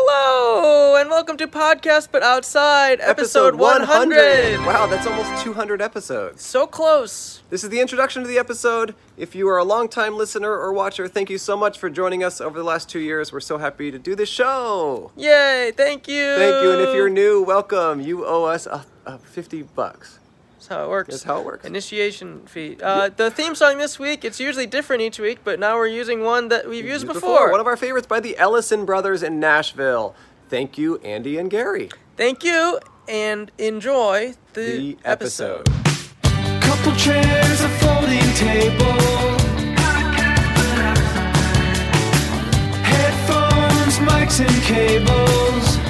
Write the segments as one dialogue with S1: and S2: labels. S1: Hello and welcome to podcast but outside episode 100.
S2: Wow, that's almost 200 episodes.
S1: So close.
S2: This is the introduction to the episode. If you are a longtime listener or watcher, thank you so much for joining us over the last two years. We're so happy to do this show.
S1: Yay, thank you.
S2: Thank you, and if you're new, welcome. You owe us uh, uh, 50 bucks.
S1: That's how it works.
S2: That's how it works.
S1: Initiation fee. Uh, the theme song this week, it's usually different each week, but now we're using one that we've used before.
S2: One of our favorites by the Ellison Brothers in Nashville. Thank you, Andy and Gary.
S1: Thank you and enjoy the,
S2: The episode.
S3: Couple chairs, a folding table. Headphones, mics, and cables.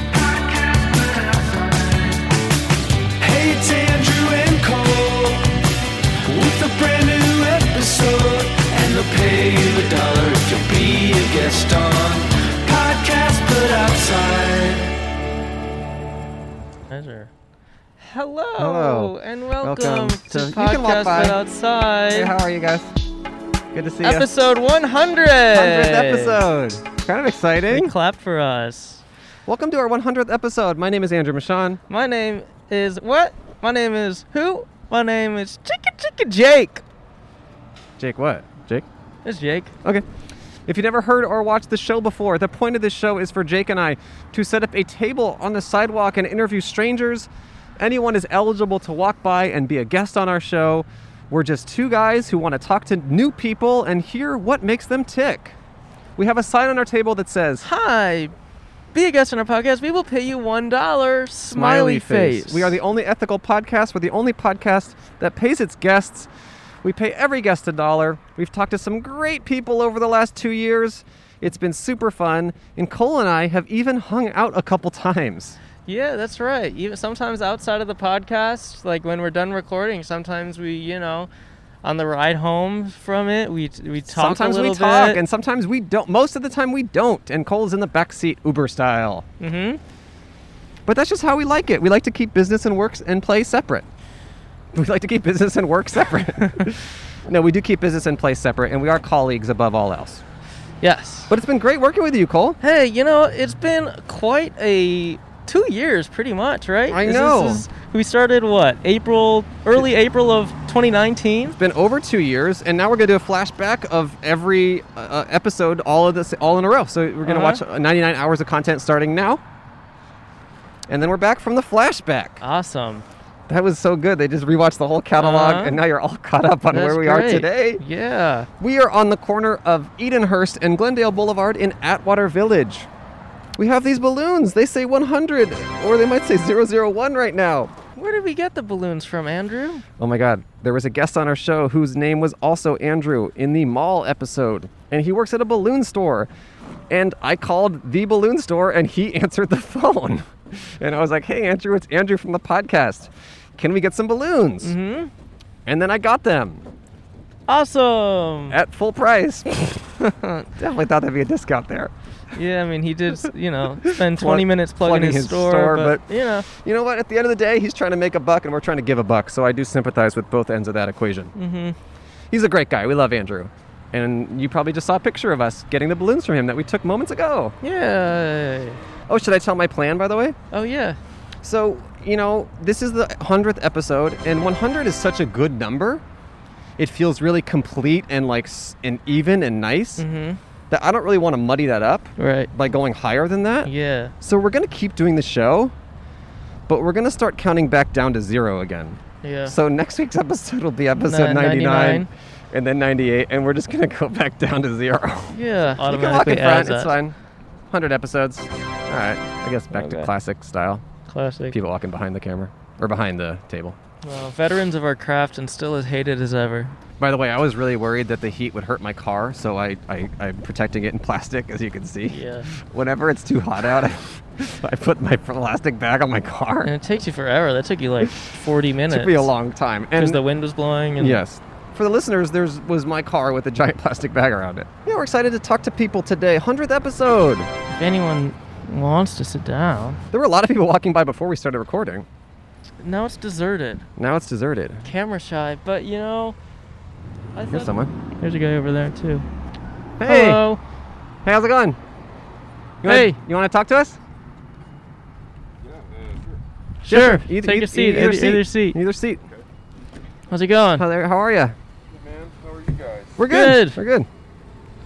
S3: Hey, it's Andrew and Cole with a brand new episode. And they'll pay you a dollar if you'll be a guest on Podcast Put Outside.
S1: Hello,
S4: Hello.
S1: and welcome,
S4: Welcome
S1: to
S4: to- you can
S1: podcast
S4: walk by.
S1: but outside.
S4: Hey, how are you guys? Good to see you.
S1: episode 100.
S4: 100th episode. Kind of
S1: They
S4: exciting.
S1: clapped for us.
S4: Welcome to our 100th episode. My name is Andrew Michon.
S1: My name is what? My name is who? My name is Chicken Chicken Jake.
S4: Jake, what? Jake?
S1: It's Jake.
S4: Okay. If you never heard or watched the show before, the point of this show is for Jake and I to set up a table on the sidewalk and interview strangers. Anyone is eligible to walk by and be a guest on our show. We're just two guys who want to talk to new people and hear what makes them tick. We have a sign on our table that says,
S1: Hi. Be a guest on our podcast. We will pay you one dollar. Smiley, face.
S4: We are the only ethical podcast. We're the only podcast that pays its guests. We pay every guest a dollar. We've talked to some great people over the last two years. It's been super fun. And Cole and I have even hung out a couple times.
S1: Yeah, that's right. Even sometimes outside of the podcast, like when we're done recording, sometimes we, you know, on the ride home from it, we we talk
S4: sometimes
S1: a little
S4: we talk
S1: bit.
S4: and sometimes we don't. Most of the time we don't. And Cole's in the back seat, Uber style.
S1: Mhm.
S4: But that's just how we like it. We like to keep business and works and play separate. We like to keep business and work separate. no, we do keep business and play separate, and we are colleagues above all else.
S1: yes.
S4: But it's been great working with you, Cole.
S1: Hey, you know, it's been quite a two years, pretty much, right?
S4: I
S1: Is this-
S4: know.
S1: is- we started what April, early April of 2019.
S4: It's been over two years, and now we're gonna do a flashback of every uh, uh, episode, all of this, all in a row. So we're gonna
S1: Uh-huh.
S4: watch uh, 99 hours of content starting now, and then we're back from the flashback.
S1: Awesome.
S4: That was so good. They just rewatched the whole catalog,
S1: Uh-huh.
S4: and now you're all caught up on
S1: That's
S4: where we are
S1: great.
S4: today.
S1: Yeah.
S4: We are on the corner of Edenhurst and Glendale Boulevard in Atwater Village. We have these balloons. They say 100, or they might say 001 right now.
S1: Where did we get the balloons from, Andrew?
S4: Oh my God. There was a guest on our show whose name was also Andrew in the mall episode, and he works at a balloon store. And I called the balloon store, and he answered the phone. And I was like, hey, Andrew, it's Andrew from the podcast. Can we get some balloons? Mm-hmm. And then I got them
S1: Awesome.
S4: at full price. Definitely thought there'd be a discount there.
S1: Yeah, I mean, he did, you know, spend
S4: Plug-
S1: 20 minutes plugging
S4: plugging
S1: his,
S4: his
S1: store,
S4: store,
S1: but,
S4: but-
S1: you know,
S4: You know what? At the end of the day, he's trying to make a buck, and we're trying to give a buck. So I do sympathize with both ends of that equation. Mm-hmm. He's a great guy. We love Andrew, and you probably just saw a picture of us getting the balloons from him that we took moments ago.
S1: yeah.
S4: Oh, should I tell my plan, by the way?
S1: Oh yeah.
S4: So you know, this is the hundredth episode, and 100 is such a good number. It feels really complete and like s- and even and nice. That I don't really want to muddy that up
S1: Right.
S4: by going higher than that.
S1: Yeah.
S4: So we're gonna keep doing the show, but we're gonna start counting back down to zero again.
S1: Yeah.
S4: So next week's episode will be episode
S1: Nin-
S4: 99,
S1: 99.
S4: and then 98, and we're just gonna go back down to zero.
S1: yeah.
S4: you can walk in
S1: Automatically
S4: front.
S1: adds
S4: It's
S1: up.
S4: fine. 100 episodes. All right. I guess back
S1: Okay.
S4: to classic style.
S1: Classic.
S4: People walking behind the camera or behind the table.
S1: Well, veterans of our craft and still as hated as ever.
S4: By the way, I was really worried that the heat would hurt my car, so I, I, I'm protecting it in plastic, as you can see.
S1: Yeah.
S4: Whenever it's too hot out, I put my plastic bag on my car.
S1: And it takes you forever. That took you like 40 minutes.
S4: took me a long time.
S1: Because
S4: And
S1: the wind was blowing. And
S4: yes, for the listeners, there's was my car with a giant plastic bag around it. Yeah, we're excited to talk to people today. Hundredth episode.
S1: If anyone wants to sit down,
S4: There were a lot of people walking by before we started recording.
S1: now it's deserted,
S4: Now it's deserted.
S1: camera shy. But you know, I
S4: Here's
S1: thought-
S4: someone.
S1: There's a guy over there too.
S4: Hey,
S1: Hello.
S4: hey, how's it going? You wanna,
S1: Hey.
S4: you want to talk to us?
S1: Sure.
S4: Either-
S1: Take
S4: either-
S1: a seat.
S4: Either,
S1: Either, either seat.
S4: Either seat.
S1: How's it going?
S4: How, there, how are you?
S5: Man, how are you guys?
S4: We're good.
S1: Good.
S4: We're good.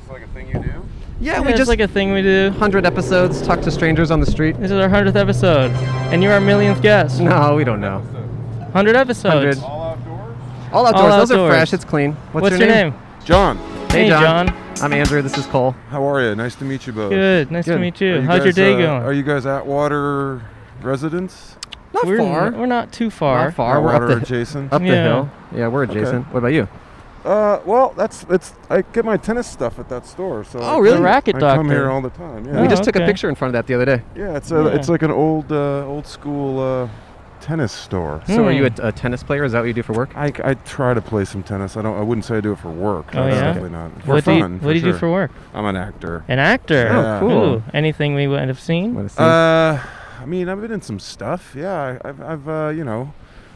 S5: It's like a thing you do.
S4: Yeah,
S1: Yeah,
S4: we
S1: it's
S4: just
S1: like a thing we do.
S4: 100 episodes. Talk to strangers on the street.
S1: This is our hundredth episode, and you're our millionth guest.
S4: No, we don't know.
S5: What's up?
S1: Hundred episodes.
S4: 100.
S5: All outdoors?
S4: All outdoors. Those are
S1: outdoors.
S4: fresh. It's clean. What's,
S1: What's, your name?
S5: John,
S4: Hey,
S1: Hey,
S4: John.
S1: John.
S4: I'm Andrew. This is Cole.
S5: how are you? Nice to meet you both.
S1: Good. Nice
S4: Good.
S1: to meet
S5: Are
S1: you.
S5: you
S1: How's your
S5: guys,
S1: day
S5: uh,
S1: going?
S5: Are you guys Atwater residents?
S4: Not
S1: we're,
S4: far.
S1: We're not too far.
S4: Not far. We're
S5: Atwater
S4: up the,
S5: adjacent.
S4: up the
S1: Yeah.
S4: hill. Yeah, we're adjacent. What about you?
S5: Uh, well, that's it's. I get my tennis stuff at that store. So
S4: Oh,
S5: I
S4: really?
S5: come-
S1: The racket
S5: I come
S1: doctor.
S5: here all the time. Yeah,
S4: we
S1: Oh,
S4: just took a
S1: okay.
S4: picture in front of that the other day.
S5: yeah. It's a,
S1: Yeah.
S5: it's like an old uh, old school uh, tennis store.
S4: So, are
S1: Hmm.
S4: you a, a tennis player? Is that what you do for work?
S5: I, I try to play some tennis. I don't. I wouldn't say I do it for work.
S1: Oh,
S5: That's
S1: yeah?
S5: Definitely not. For
S1: what do
S5: fun.
S1: you, what do you do
S5: sure.
S1: for work?
S5: I'm an actor.
S1: An actor.
S5: Oh, Yeah.
S4: cool.
S1: Ooh, anything we would have seen?
S4: Wanna see?
S5: Uh, I mean, I've been in some stuff. Yeah, I, I've, I've uh, you know,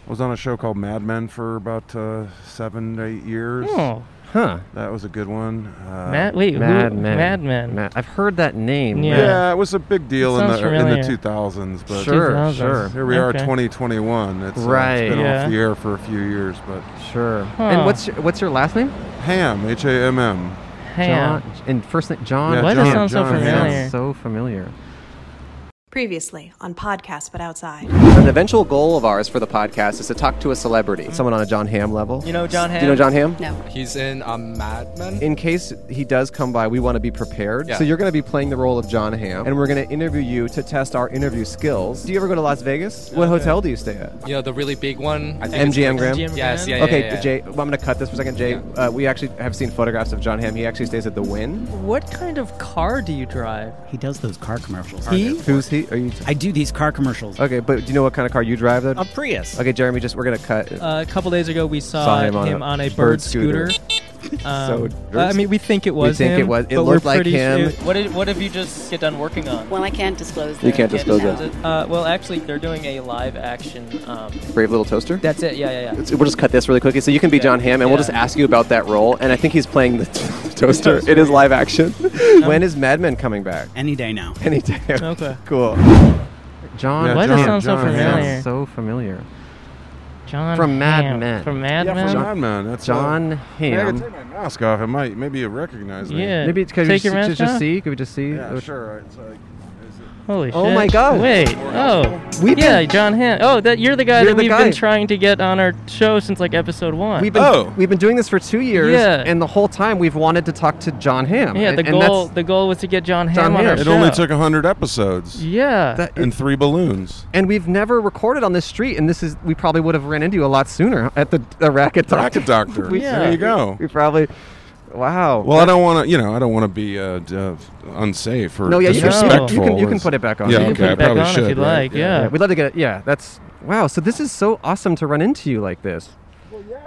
S5: was on a show called Mad Men for about uh, seven to eight years.
S1: Oh,
S4: huh.
S5: That was a good one. Uh,
S1: Mad. Wait,
S4: Mad
S1: who,
S4: Men.
S1: Mad Men.
S4: Ma- I've heard that name.
S1: Yeah.
S5: Yeah.
S4: Mad-
S5: it was a big deal in
S1: That
S5: the
S1: sounds
S5: in the
S1: familiar.
S5: 2000s. But
S4: Sure,
S1: 2000s.
S4: sure,
S5: here we are,
S1: Okay.
S5: 2021. It's, uh,
S4: Right.
S5: it's been
S1: Yeah.
S5: off the air for a few years, but
S4: sure. And
S1: Huh.
S4: what's your, what's your last name?
S5: Ham, H-A-M-M.
S1: Ham.
S4: John. And first name John.
S5: Yeah,
S1: Why does
S5: John,
S1: it sound so
S5: John Ham.
S1: familiar?
S4: Sounds so familiar.
S6: Previously on podcast, but outside.
S7: An eventual goal of ours for the podcast is to talk to a celebrity.
S4: Someone on a John Ham level.
S1: You know John Ham.
S7: Do you know John Ham?
S6: No.
S8: He's in um, Mad Men.
S4: in case he does come by, we want to be prepared.
S8: Yeah.
S4: So you're going to be playing the role of John Hamm, and we're going to interview you to test our interview skills. Do you ever go to Las Vegas? What hotel do you stay at?
S8: you know the really big one. I
S4: MGM Grand.
S1: MGM.
S8: Yes. Yeah. yeah,
S4: Okay,
S8: yeah, yeah.
S4: Jay. Well, I'm going to cut this for a second, Jay. Uh, we actually have seen photographs of John Hamm. He actually stays at the Wynn.
S1: What kind of car do you drive?
S9: He does those car commercials.
S4: Who's he? Are you?
S9: I do these car commercials.
S4: okay, but do you know what kind of car you drive? Though?
S9: A Prius.
S4: Okay, Jeremy. Just we're going to cut.
S10: Uh, a couple days ago, we saw,
S4: Saw him
S10: him,
S4: on
S10: on,
S4: a
S10: a
S4: bird
S10: bird, scooter. Um,
S4: So-
S10: I mean, we think it was
S4: think
S10: him,
S4: it was- it
S10: but we're
S4: looked like
S10: pretty
S4: him.
S10: sure- what, did, what have you just get done working on?
S6: Well, I can't disclose that.
S7: You can't disclose that.
S10: Uh, well, actually, they're doing a live action. Um,
S7: Brave Little Toaster?
S10: that's it. Yeah, yeah, yeah.
S7: We'll just cut this really quickly. So you can be John Hamm, and we'll
S10: Yeah.
S7: just ask you about that role. And I think he's playing the toaster. It is live action.
S4: when is Mad Men coming back?
S9: Any day now.
S4: Any day.
S1: Okay.
S4: cool. John.
S5: Yeah,
S1: Why
S5: John,
S1: does it sound so
S5: John Hamm.
S1: familiar?
S4: Sounds so familiar.
S1: John
S4: From Mad
S1: Hamm.
S4: Men.
S1: From Mad
S5: Yeah,
S1: Men.
S5: from Mad Men. That's
S4: John
S5: Uh, yeah, I can
S4: Hamm.
S5: take my mask off. It might maybe you recognize me.
S1: Yeah.
S4: Maybe it's because
S1: Take
S4: you
S1: your
S4: just,
S1: mask
S4: just
S1: off?
S4: see. Could we just see? Oh,
S5: Yeah,
S4: Or-
S5: sure. It's like, is it-
S1: Holy
S4: Oh
S1: shit.
S4: my God.
S1: Wait. Oh.
S4: We've
S1: yeah,
S4: been-
S1: John Hamm. Oh, that you're the guy
S4: You're
S1: that
S4: the
S1: we've
S4: guy.
S1: been trying to get on our show since like episode one.
S4: We've been
S5: Oh.
S4: we've been doing this for two years,
S1: Yeah.
S4: and the whole time we've wanted to talk to John Hamm.
S1: yeah,
S4: and,
S1: the
S4: and
S1: goal
S4: that's-
S1: the goal was to get John
S4: John
S1: Hamm on our
S4: Hamm.
S1: show.
S5: it only took hundred episodes
S1: Yeah.
S4: that-
S5: and three balloons.
S4: and we've never recorded on this street, and this is we probably would have ran into you a lot sooner at the, the racket talk.
S5: Rocket Doctor.
S4: We-
S5: There
S1: Yeah.
S5: you go.
S4: We probably, wow.
S5: Well, I don't want to, you know, I don't want to be uh, d- uh, unsafe or
S4: No, yeah,
S1: you
S4: you can-
S1: can- you
S5: disrespectful.
S4: can- you can
S5: as-
S4: put it back on.
S5: Yeah,
S4: You
S1: you
S5: okay,
S1: can put
S5: I
S1: it back
S5: probably
S1: on
S5: should.
S1: if you'd
S5: right?
S1: like. Yeah.
S4: Yeah, we'd love to get it. Yeah, that's wow. So this is so awesome to run into you like this.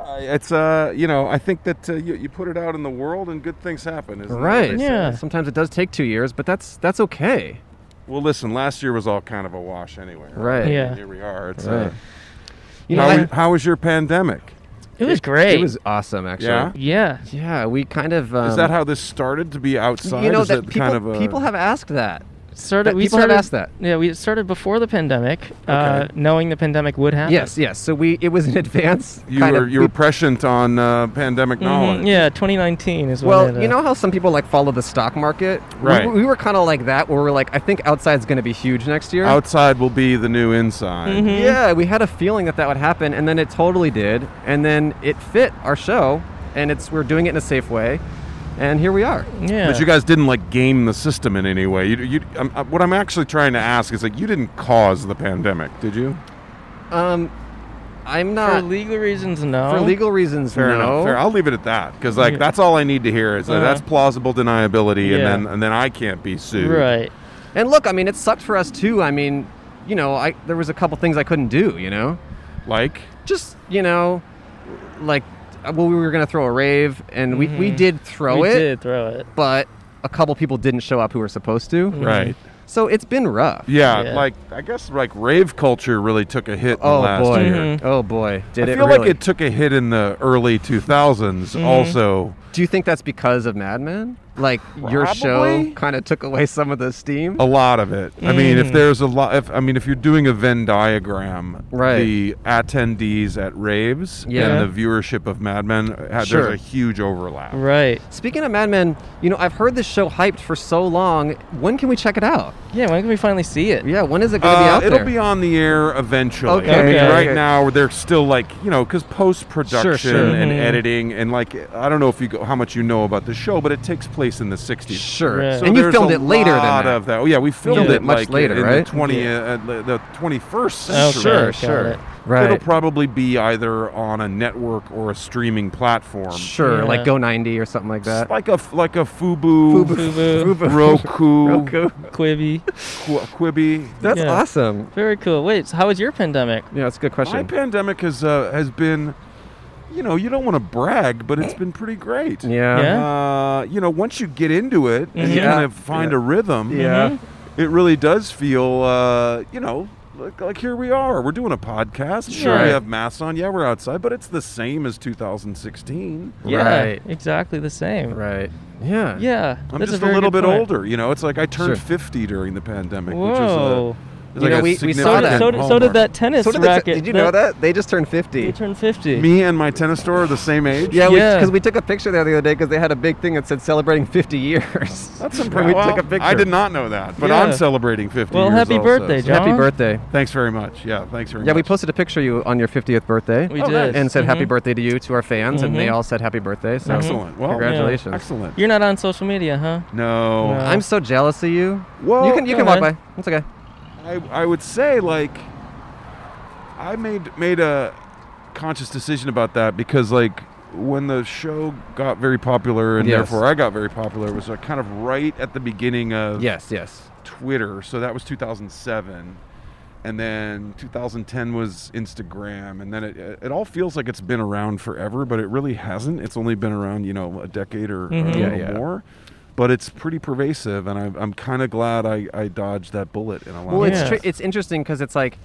S5: I- It's uh, you know, I think that uh, you, you put it out in the world and good things happen. Isn't that what
S4: Right.
S5: they say?
S1: Yeah.
S4: Sometimes it does take two years, but that's that's okay.
S5: Well, listen, last year was all kind of a wash anyway.
S4: Right.
S5: And
S1: Yeah.
S5: Here we are. It's uh,
S4: Right. You know,
S5: how,
S4: I-
S5: was, how was your pandemic?
S1: It was great.
S4: it was awesome actually.
S5: Yeah?
S1: yeah.
S4: Yeah, we kind of. Um,
S5: Is that how this started to be outside?
S4: you know
S5: Is
S4: that
S5: it
S4: people
S5: kind of a,
S4: people have asked that.
S1: Started
S4: That-
S1: we
S4: people have
S1: started
S4: asked that.
S1: Yeah, we started before the pandemic, uh, knowing the pandemic would happen.
S4: Yes, yes. So we it was in advance.
S5: you
S4: kind
S5: were
S4: of- Mm-hmm.
S5: you were prescient on uh, pandemic knowledge.
S1: Mhm, Yeah, 2019 is when it,
S4: well,
S1: uh,
S4: you know how some people like follow the stock market. We-
S5: Right.
S4: We, were kind of like that, where we're like, I think outside's going to be huge next year.
S5: Outside will be the new inside.
S4: Mm-hmm. Yeah, we had a feeling that that would happen, and then it totally did, and then it fit our show, and it's we're doing it in a safe way, and here we are.
S1: Yeah.
S5: But you guys didn't like game the system in any way. You, you, I'm, I, what I'm actually trying to ask is like you didn't cause the pandemic, did you?
S4: Um, I'm
S1: for
S4: not
S1: legal reasons, no.
S4: for legal reasons.
S5: oh? Fair
S4: no.
S5: enough. Fair. I'll leave it at that because like
S1: Yeah.
S5: that's all I need to hear is that
S1: Uh-huh.
S5: that's plausible deniability,
S1: Yeah.
S5: and then and then I can't be sued.
S1: Right.
S4: And look, I mean, it sucked for us too. I mean, you know, I there was a couple things I couldn't do. You know.
S5: Like
S4: just you know like uh, well we were gonna throw a rave and we, we
S5: Mm-hmm.
S1: Mhm.
S4: did throw
S1: we
S4: it
S1: did throw it.
S4: but a couple people didn't show up who were supposed to
S5: right.
S4: so it's been rough
S5: Yeah,
S1: Yeah.
S5: Like I guess like rave culture really took a hit. in the
S4: oh
S5: last
S4: boy
S5: year.
S1: Mhm.
S4: oh boy did
S5: I
S4: it
S5: feel
S4: really
S5: like
S1: Mm-hmm.
S5: it took a hit in the early 2000s. Also,
S4: do you think that's because of mad men like your show
S5: Probably. Oh.
S4: kind of took away some of the steam?
S5: A lot of it. I mean,
S1: Mm.
S5: if there's a lot, if I mean, if you're doing a Venn diagram,
S4: Right.
S5: the attendees at raves
S4: Yeah.
S5: and the viewership of Mad Men, had,
S4: Sure.
S5: there's a huge overlap.
S1: Right.
S4: Speaking of Mad Men, you know, I've heard this show hyped for so long. When can we check it out?
S1: Yeah. When can we finally see it?
S4: Yeah, when is it going to be
S5: Uh,
S4: out
S5: it'll
S4: there?
S5: be on the air eventually.
S4: Okay.
S5: I mean,
S1: Okay.
S5: right
S4: Okay.
S5: now they're still like you know because post production
S4: Sure, Mm-hmm. sure.
S5: and
S1: Mhm.
S5: editing and like I don't know if you go, how much you know about the show, but it takes place in the '60s.
S4: Sure.
S1: Right.
S5: So
S4: and you
S5: there's
S4: filmed
S5: a
S4: it later than
S5: lot
S4: that.
S5: of that. Oh yeah, we filmed
S4: Yeah.
S5: it
S4: Much
S5: like,
S4: later,
S5: in
S4: right? Oh,
S5: The Twenty, uh, uh, the twentieth
S1: Okay,
S5: century.
S1: got it.
S5: It'll probably be either on a network or a streaming platform.
S4: Sure,
S1: Yeah.
S4: like Go 90 or something like that.
S5: It's like a f- like a Fubu,
S1: Fubu,
S5: Roku,
S4: Roku.
S1: Quibi.
S5: Qu- Quibi.
S4: That's
S1: Yeah.
S4: awesome.
S1: Very cool. Wait, so how was your pandemic?
S4: Yeah, that's a good
S5: My
S4: question.
S5: pandemic has uh, has been, you know, you don't want to brag, but it's been pretty great.
S4: yeah.
S1: Yeah?
S5: Uh, you know, once you get into it and you
S4: Mhm.
S5: kind of
S4: Yeah.
S5: find
S4: Yeah.
S5: a rhythm,
S4: Yeah.
S1: Mm-hmm.
S5: it really does feel, uh, you know, like, like here we are. We're doing a podcast. Sure,
S4: Right.
S5: we have masks on. Yeah, we're outside, but it's the same as 2016.
S1: Yeah.
S4: Right.
S1: Exactly the same.
S4: Right. Yeah.
S1: Yeah.
S5: I'm
S1: that's
S5: just a,
S1: very
S5: little
S1: good
S5: bit
S1: point.
S5: older. You know, it's like I turned
S4: Sure.
S5: 50 during the pandemic, which is uh,
S1: Whoa.
S5: a, is
S4: You
S5: like
S4: know,
S5: a
S4: we- we
S1: So,
S4: saw Oh,
S1: did-
S4: that.
S5: significant
S1: so, did- so did
S5: hallmark.
S1: that tennis
S4: So did, the,
S1: racket.
S4: did you know that they just turned
S1: They
S4: 50?
S1: turned 50.
S5: Me and my tennis store are the same age.
S4: Yeah,
S1: Yeah.
S4: because we, took a picture there the other day because they had a big thing that said celebrating 50 years.
S1: Oh,
S5: That's
S4: And
S5: impressive.
S4: we took a picture.
S5: I did not know that, but I'm
S1: Yeah.
S5: celebrating 50
S1: Well,
S5: years
S1: happy
S5: also,
S1: birthday,
S5: so-
S1: John.
S4: Happy birthday.
S5: Thanks very much. Yeah, thanks very
S4: Yeah,
S5: much.
S4: we posted a picture of you on your 50th birthday.
S1: We
S5: Oh,
S1: did.
S5: nice.
S4: And said happy
S1: Mhm.
S4: birthday to you to our fans, and they
S1: Mhm.
S4: all said happy birthday. So
S5: Excellent. Well,
S4: Congratulations.
S5: Excellent.
S1: You're not on social media, huh?
S5: No.
S1: No.
S4: I'm so jealous of you.
S5: Well,
S4: you can you
S1: go
S4: can walk
S1: ahead.
S4: by. It's okay.
S5: I, I would say like I made made a conscious decision about that because like when the show got very popular and
S4: Yes.
S5: therefore I got very popular it was like kind of right at the beginning of
S4: Yes, yes.
S5: Twitter. So that was 2007. And then 2010 was Instagram, and then it, it all feels like it's been around forever, but it really hasn't. It's only been around, you know, a decade or, or a
S1: Mhm.
S5: little
S1: Yeah,
S4: Mm-hmm. yeah.
S5: more. But it's pretty pervasive, and I, I'm kind of glad I, I dodged that bullet in a lot.
S4: Well,
S5: of
S4: it's
S1: Yeah.
S4: tr- it's interesting because it's like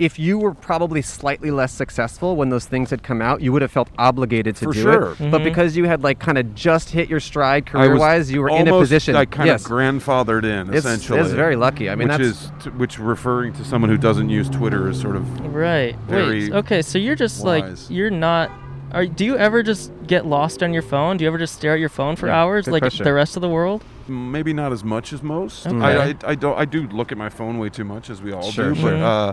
S4: if you were probably slightly less successful when those things had come out, you would have felt obligated to
S5: For
S4: do
S5: sure.
S1: Mm-hmm.
S4: it. But because you had like kind of just hit your stride
S5: I was
S4: career-wise, you were in a
S5: almost,
S4: position.
S5: like kind
S4: yes,
S5: of grandfathered in.
S4: It's- it's
S5: essentially,
S4: very lucky. I mean,
S5: which
S4: that's-
S5: is t- which referring to someone who doesn't use Twitter is sort of
S1: Right.
S5: Very
S1: Wait. Okay, so you're just
S5: wise.
S1: like you're not are do you ever just get lost on your phone? Do you ever just stare at your phone for hours
S4: good
S1: like
S4: question.
S1: the rest of the world?
S5: maybe not as much as most. I, I,
S1: Okay.
S5: I don't. I do look at my phone way too much, as we all
S4: Sure,
S5: do.
S4: sure.
S5: But uh,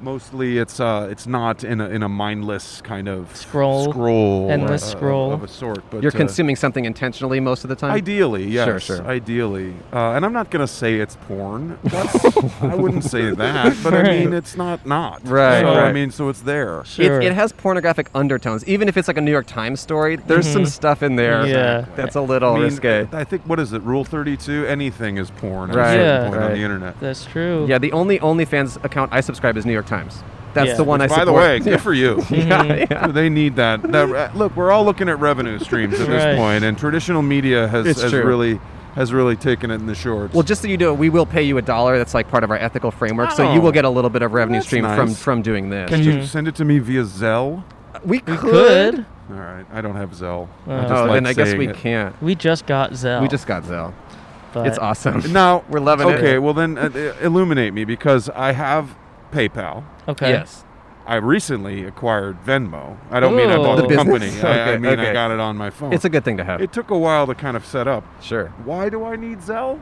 S5: mostly, it's uh, it's not in a in a mindless kind of
S1: Scroll.
S5: scroll,
S1: Endless
S5: uh, of-
S1: scroll.
S5: of, a sort. But
S4: you're
S5: uh,
S4: consuming something intentionally most of the time.
S5: Ideally, yes.
S4: Sure, sure.
S5: Ideally, uh, and I'm not gonna say it's porn. That's, I wouldn't say that, but I mean it's not not.
S4: Right,
S5: So, I
S4: right.
S5: mean, so it's there.
S1: Sure.
S4: It, it has pornographic undertones. Even if it's like a New York Times story, there's some stuff in there
S1: Mm-hmm. Yeah.
S4: Oh, that's a little
S5: I mean,
S4: risque.
S5: I think what is it? Rule thirty-two: anything is porn.
S4: Right.
S5: At a certain
S1: Yeah.
S5: point on
S4: Right.
S5: the internet.
S1: That's true.
S4: Yeah, the only OnlyFans account I subscribe is New York Times. That's
S1: Yeah. Mm-hmm.
S4: the one I
S5: By
S4: support.
S5: the way, good for you.
S4: yeah, yeah.
S5: They need that. That uh, look, we're all looking at revenue streams at this
S1: Right.
S5: point, and traditional media has,
S4: It's
S5: has
S4: true.
S5: really has really taken it in the shorts.
S4: Well, just so you know, we will pay you a dollar. That's like part of our ethical framework. So you
S5: Oh.
S4: will get a little bit of revenue
S5: That's
S4: stream from
S5: nice.
S4: from doing this.
S5: can you send it to me via Zelle?
S4: we
S1: We could.
S5: All right, I don't have Zelle.
S1: Oh.
S5: I just
S4: Oh,
S5: like
S4: then I guess
S5: saying
S4: we
S5: it.
S4: can't.
S1: We just got Zell.
S4: We just got Zelle.
S1: Oh. but
S4: It's awesome.
S5: Now
S4: We're loving it.
S5: okay, Okay, well then uh, uh, illuminate me because I have PayPal.
S1: Okay.
S4: Yes.
S5: I recently acquired Venmo. I don't mean I bought
S1: Ooh.
S5: the,
S1: The
S5: company.
S4: business?
S5: I, I
S4: Okay,
S5: mean
S4: okay.
S5: I got it on my phone.
S4: It's a good thing to have.
S5: it took a while to kind of set up.
S4: sure.
S5: Why do I need Zelle?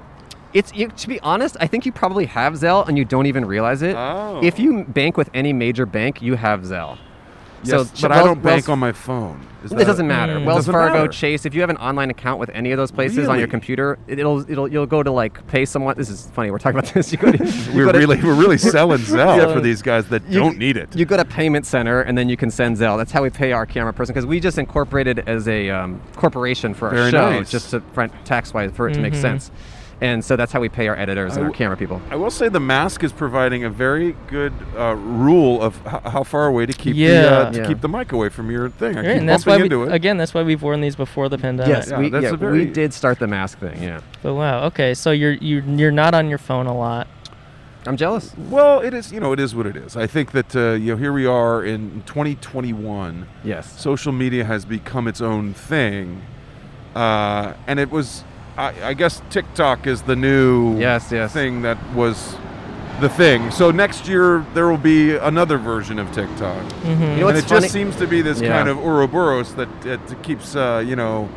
S4: It's you, to be honest, I think you probably have Zelle and you don't even realize it.
S5: Oh.
S4: If you bank with any major bank, you have Zelle.
S5: Yes,
S4: ch-
S5: but I
S4: Wells-
S5: don't bank
S4: Wells-
S5: on Hmm. my phone. Is
S4: It
S5: that-
S4: doesn't matter.
S5: It
S4: Wells
S5: doesn't
S4: Fargo,
S5: matter.
S4: Chase. If you have an online account with any of those places on your
S5: Really?
S4: computer, it- it'll it'll you'll go to like pay someone. This is funny. We're talking about this. You go to, you
S5: We're
S4: go to-
S5: really we're really selling Zelle
S4: Yeah.
S5: for these guys that
S4: You-
S5: don't need it.
S4: You go to payment center and then you can send Zelle. That's how we pay our camera person because we just incorporated as a um, corporation for our
S5: Very
S4: show,
S5: nice.
S4: just to front tax wise for it to make sense. And so that's how we pay our editors and
S5: Mm-hmm. I
S4: our
S5: w-
S4: camera people.
S5: I will say the mask is providing a very good uh, rule of h- how far away to keep the
S1: Yeah.
S5: uh, to
S4: Yeah.
S5: keep the mic away from your thing. I
S1: Right,
S5: keep
S1: and that's why
S5: bumping
S1: we,
S5: into it.
S1: again that's why we've worn these before the pandemic.
S4: Yes,
S5: yeah,
S4: we,
S5: that's
S4: yeah,
S5: a very-
S4: we did start the mask thing. Yeah,
S1: But wow, okay. So you're you you're not on your phone a lot.
S4: I'm jealous.
S5: Well, it is you know it is what it is. I think that uh, you know here we are in 2021.
S4: Yes.
S5: Social media has become its own thing, uh, and it was I, I guess TikTok is the new
S4: Yes, yes.
S5: thing that was the thing. So next year there will be another version of TikTok.
S4: Mm-hmm. You know
S5: and
S4: what's
S5: it
S4: funny?
S5: just seems to be this
S4: Yeah.
S5: kind of Ouroboros that it keeps, uh, you know,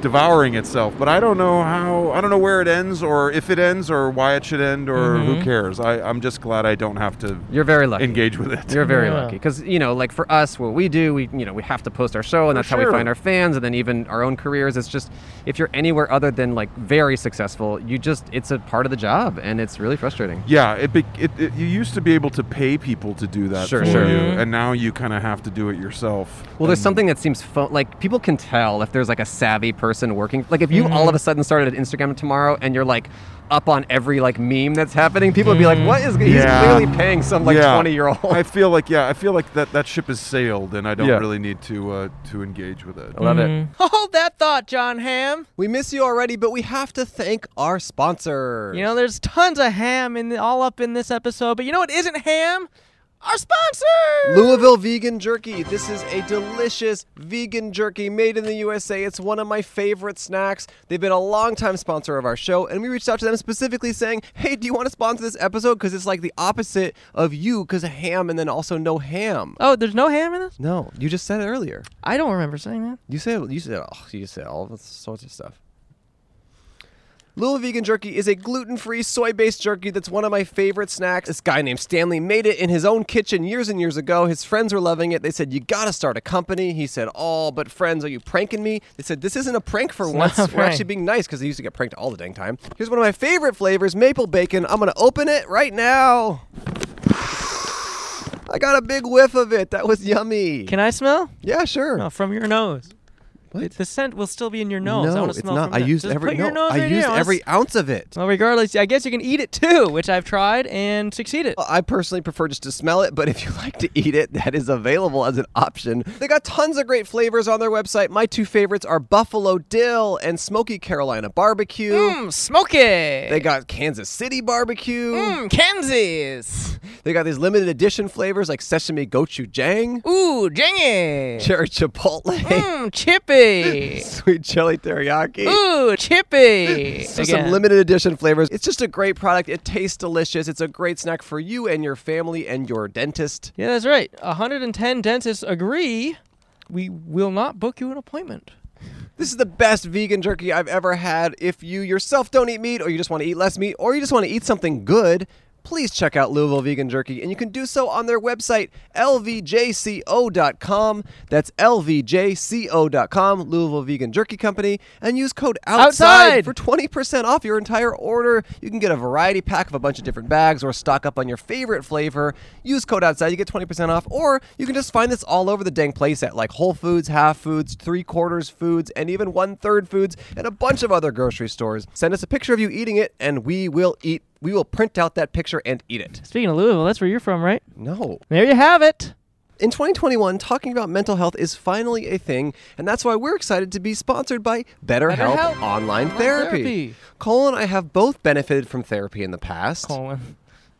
S5: devouring itself. But I don't know how, I don't know where it ends or if it ends or why it should end or
S4: Mm-hmm.
S5: who cares. I, I'm just glad I don't have to
S4: You're very lucky.
S5: engage with it.
S4: You're very
S1: Yeah.
S4: lucky because you know, like for us, what we do, we you know, we have to post our show, and that's how we
S5: sure.
S4: find our fans, and then even our own careers. It's just if you're anywhere other than like very successful, you just it's a part of the job, and it's really frustrating.
S5: Yeah, it, be, it, it you used to be able to pay people to do that
S4: Sure,
S5: for
S4: sure. Mm-hmm.
S5: you, and now you kind of have to do it yourself.
S4: Well, there's
S5: And-
S4: something that seems fun. Like people can tell if there's like a savvy person working. Like if you all of a sudden started an Instagram tomorrow and you're like up on every like meme that's happening, people would be like, "What is?
S5: Yeah.
S4: He's clearly paying some like
S5: Yeah.
S4: 20 year old."
S5: I feel like yeah, I feel like that that ship has sailed, and I don't
S4: Yeah.
S5: really need to uh, to engage with it.
S4: Love it.
S1: Hold that thought, John Ham.
S4: We miss you already, but we have to thank our sponsor.
S1: You know, there's tons of ham in the, all up in this episode, but you know what isn't ham? Our sponsor.
S4: Louisville Vegan Jerky. This is a delicious vegan jerky made in the USA. It's one of my favorite snacks. They've been a longtime sponsor of our show, and we reached out to them specifically saying, hey, do you want to sponsor this episode? Because it's like the opposite of you, because ham and then also no ham.
S1: Oh, there's no ham in this?
S4: No, you just said it earlier.
S1: I don't remember saying that.
S4: You said you said oh, you said all sorts of stuff. Lula Vegan Jerky is a gluten-free soy-based jerky that's one of my favorite snacks. This guy named Stanley made it in his own kitchen years and years ago. His friends were loving it. They said, "You got to start a company." He said, "Oh, but friends, are you pranking me?" They said, "This isn't a prank for
S1: not
S4: once.
S1: a
S4: We're
S1: prank.
S4: actually being nice because they used to get pranked all the dang time." Here's one of my favorite flavors, maple bacon. I'm gonna open it right now. I got a big whiff of it. That was yummy.
S1: Can I smell?
S4: yeah, sure.
S1: No, from your nose.
S4: What?
S1: The scent will still be in your nose. I
S4: No,
S1: want
S4: it's
S1: to smell
S4: not.
S1: From
S4: I
S1: that.
S4: used
S1: Just
S4: every.
S1: Put
S4: No,
S1: your nose
S4: I
S1: in
S4: used
S1: I wanna
S4: every
S1: s-
S4: ounce of it.
S1: Well, regardless, I guess you can eat it too, which I've tried and succeeded.
S4: I personally prefer just to smell it, but if you like to eat it, that is available as an option. They got tons of great flavors on their website. My two favorites are buffalo dill and smoky Carolina barbecue.
S1: Mmm, smoky.
S4: They got Kansas City barbecue.
S1: Mmm, Kansas.
S4: They got these limited edition flavors like sesame
S1: Mm.
S4: gochujang,
S1: Ooh, Jenny.
S4: cherry chipotle,
S1: Mmm, chippy.
S4: sweet chili teriyaki.
S1: Ooh, chippy.
S4: So some limited edition flavors. It's just a great product. It tastes delicious. It's a great snack for you and your family and your dentist.
S1: Yeah, that's right. 110 dentists agree we will not book you an appointment.
S4: This is the best vegan jerky I've ever had. If you yourself don't eat meat, or you just want to eat less meat, or you just want to eat something good, please check out Louisville Vegan Jerky. And you can do so on their website, lvjco.com. That's lvjco.com, Louisville Vegan Jerky Company. And use code OUTSIDE,
S1: Outside!
S4: for 20% off your entire order. You can get a variety pack of a bunch of different bags or stock up on your favorite flavor. Use code outside, you get 20% off, or you can just find this all over the dang place at like Whole Foods, Half Foods, Three Quarters Foods, and even One Third Foods, and a bunch of other grocery stores. Send us a picture of you eating it, and we will eat. We will print out that picture and eat it.
S1: Speaking of Louisville, that's where you're from, right?
S4: No.
S1: There you have it.
S4: In 2021, talking about mental health is finally a thing, and that's why we're excited to be sponsored by BetterHelp,
S1: BetterHelp.
S4: Online
S1: Online
S4: Therapy.
S1: therapy.
S4: Cole and I have both benefited from therapy in the past.
S1: Colin.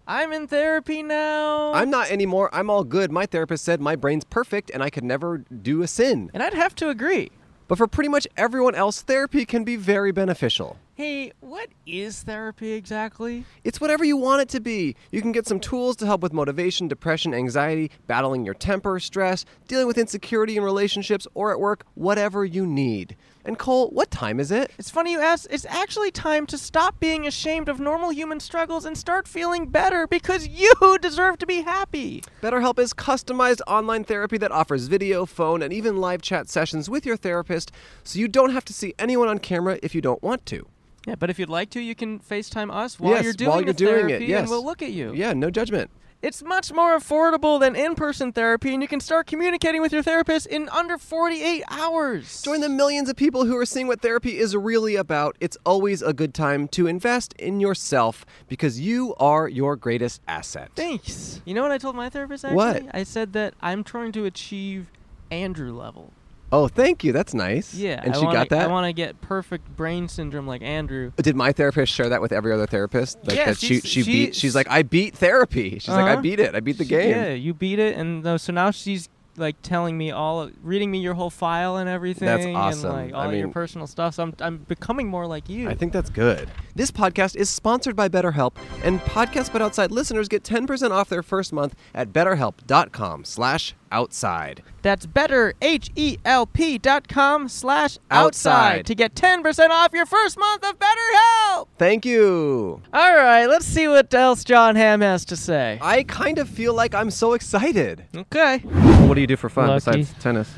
S1: I'm in therapy now.
S4: I'm not anymore. I'm all good. My therapist said my brain's perfect and I could never do a sin.
S1: and I'd have to agree.
S4: But for pretty much everyone else, therapy can be very beneficial.
S1: Hey, what is therapy exactly?
S4: It's whatever you want it to be. You can get some tools to help with motivation, depression, anxiety, battling your temper, stress, dealing with insecurity in relationships or at work, whatever you need. And Cole, what time is it?
S1: It's funny you ask. It's actually time to stop being ashamed of normal human struggles and start feeling better because you deserve to be happy.
S4: BetterHelp is customized online therapy that offers video, phone, and even live chat sessions with your therapist so you don't have to see anyone on camera if you don't want to.
S1: Yeah, but if you'd like to, you can FaceTime us while
S4: Yes,
S1: you're doing
S4: while
S1: the
S4: you're doing it,
S1: therapy
S4: yes.
S1: and we'll look at you.
S4: Yeah, no judgment.
S1: It's much more affordable than in-person therapy and you can start communicating with your therapist in under 48 hours.
S4: Join the millions of people who are seeing what therapy is really about. It's always a good time to invest in yourself because you are your greatest asset.
S1: Thanks. You know what I told my therapist actually?
S4: What?
S1: I said that I'm trying to achieve Andrew level.
S4: Oh, thank you. That's nice.
S1: Yeah.
S4: And
S1: I
S4: she
S1: wanna,
S4: got that?
S1: I want to get perfect brain syndrome like Andrew.
S4: Did my therapist share that with every other therapist? Like
S1: Yeah,
S4: that she, she
S1: she's-
S4: beat
S1: she-
S4: she's like, I beat therapy. She's like, I
S1: Uh-huh.
S4: beat it. I beat the game.
S1: Yeah, you beat it and uh, so now she's like telling me all, of, reading me your whole file and everything.
S7: awesome.
S1: And like
S7: I
S1: all your
S7: mean-
S1: personal stuff. So I'm, I'm becoming more like you.
S7: I think that's good.
S2: This podcast is sponsored by BetterHelp, and Podcast But Outside listeners get 10% off their first month at betterhelp.com slash outside.
S1: That's better, H-E-L-P dot com slash
S2: Outside.
S1: outside to get 10% off your first month of BetterHelp.
S2: Thank you.
S1: All right, let's see what else John Hamm has to say.
S2: I kind of feel like I'm so excited.
S1: Okay.
S5: Mm.
S4: What do you do for fun
S1: Lucky.
S4: besides tennis?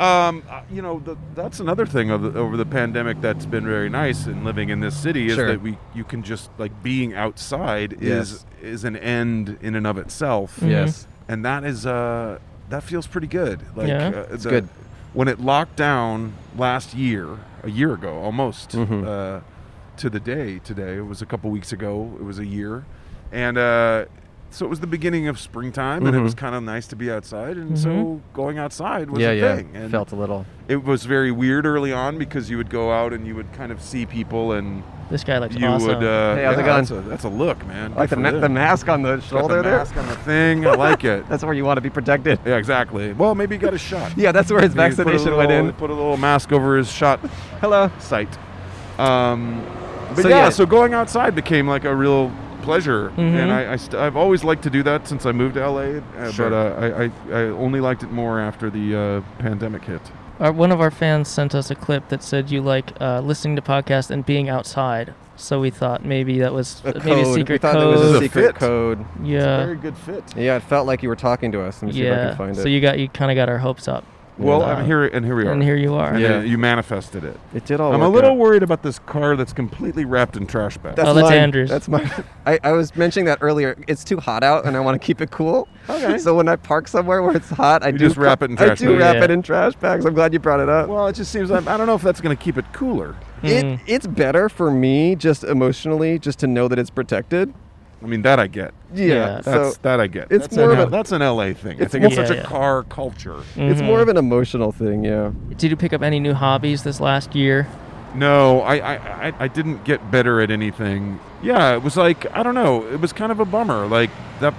S5: Um, uh, you know, the, that's another thing of the, over the pandemic that's been very nice in living in this city is
S4: Sure.
S5: that we you can just like being outside
S4: Yes.
S5: is is an end in and of itself.
S4: Yes.
S5: and that is uh that feels pretty good. Like
S1: Yeah.
S5: uh, the-
S4: good.
S5: When it locked down last year, a year ago almost
S4: Mm-hmm.
S5: uh, to the day today, it was a couple weeks ago. It was a year, and. uh so it was the beginning of springtime, and it
S4: Mm-hmm.
S5: was kind of nice to be outside. And so going outside was
S4: yeah,
S5: a
S4: yeah.
S5: thing. And
S4: Felt a little.
S5: it was very weird early on because you would go out and you would kind of see people and
S1: This guy looks
S5: you
S1: awesome.
S5: would uh,
S4: Hey, how's it going?
S5: that's a, that's a look man
S4: I like the,
S5: Good
S4: ma-
S5: for
S4: the
S5: them.
S4: mask on the
S5: Got
S4: shoulder
S5: the
S4: there.
S5: mask on the thing I like it
S4: That's where you want to be protected.
S5: yeah exactly well maybe he got a shot
S4: Yeah, that's where his
S5: He put a
S4: vaccination went
S5: little-
S4: in.
S5: put a little mask over his shot
S4: Hello.
S5: sight um, but
S4: So,
S5: yeah,
S4: yeah. Mm-hmm.
S5: so going outside became like a real pleasure and I, I st- I've always liked to do that since I moved to LA uh,
S4: Sure.
S5: but uh, I, I, I only liked it more after the uh, pandemic hit
S1: Our, one of our fans sent us a clip that said you like uh, listening to podcasts and being outside. So we thought maybe that was
S4: A
S1: maybe a
S4: code.
S1: secret
S4: we thought
S1: code.
S4: it was
S5: This
S4: a
S5: is a
S4: secret
S5: fit.
S4: code.
S1: yeah.
S5: very good fit
S4: Yeah, it felt like you were talking to us. Let me see if I
S1: Yeah.
S4: can find it.
S1: So you got you kind of got our hopes up.
S5: Well,
S1: Yeah.
S5: and here and here we are.
S1: And here you are.
S5: And
S4: Yeah.
S5: you manifested it.
S4: it did all.
S5: I'm a
S4: work
S5: little
S4: out.
S5: worried about this car that's completely wrapped in trash bags.
S1: Oh, that's
S4: mine.
S1: Andrew's.
S4: That's my. I, I was mentioning that earlier. It's too hot out, and I want to keep it cool.
S5: Okay.
S4: So when I park somewhere where it's hot, I
S5: You
S4: do
S5: just wrap it in trash
S4: I do
S5: bags.
S4: wrap
S1: Yeah.
S4: it in trash bags. I'm glad you brought it up.
S5: well, it just seems I'm, I don't know if that's going to keep it cooler.
S4: it
S1: Hmm.
S4: it's better for me just emotionally just to know that it's protected.
S5: I mean, that I get.
S4: Yeah.
S1: Yeah.
S5: That's
S4: so
S5: that I get.
S4: it's
S5: that's
S4: more
S5: an,
S4: of a-
S5: that's an LA thing. I
S4: it's
S5: think
S4: more-
S5: it's such
S1: Yeah,
S5: a
S1: yeah.
S5: car culture.
S4: it's
S1: Mm-hmm.
S4: more of an emotional thing. Yeah.
S1: Did you pick up any new hobbies this last year?
S5: No, I, I I I didn't get better at anything. Yeah, it was like I don't know. It was kind of a bummer. Like that,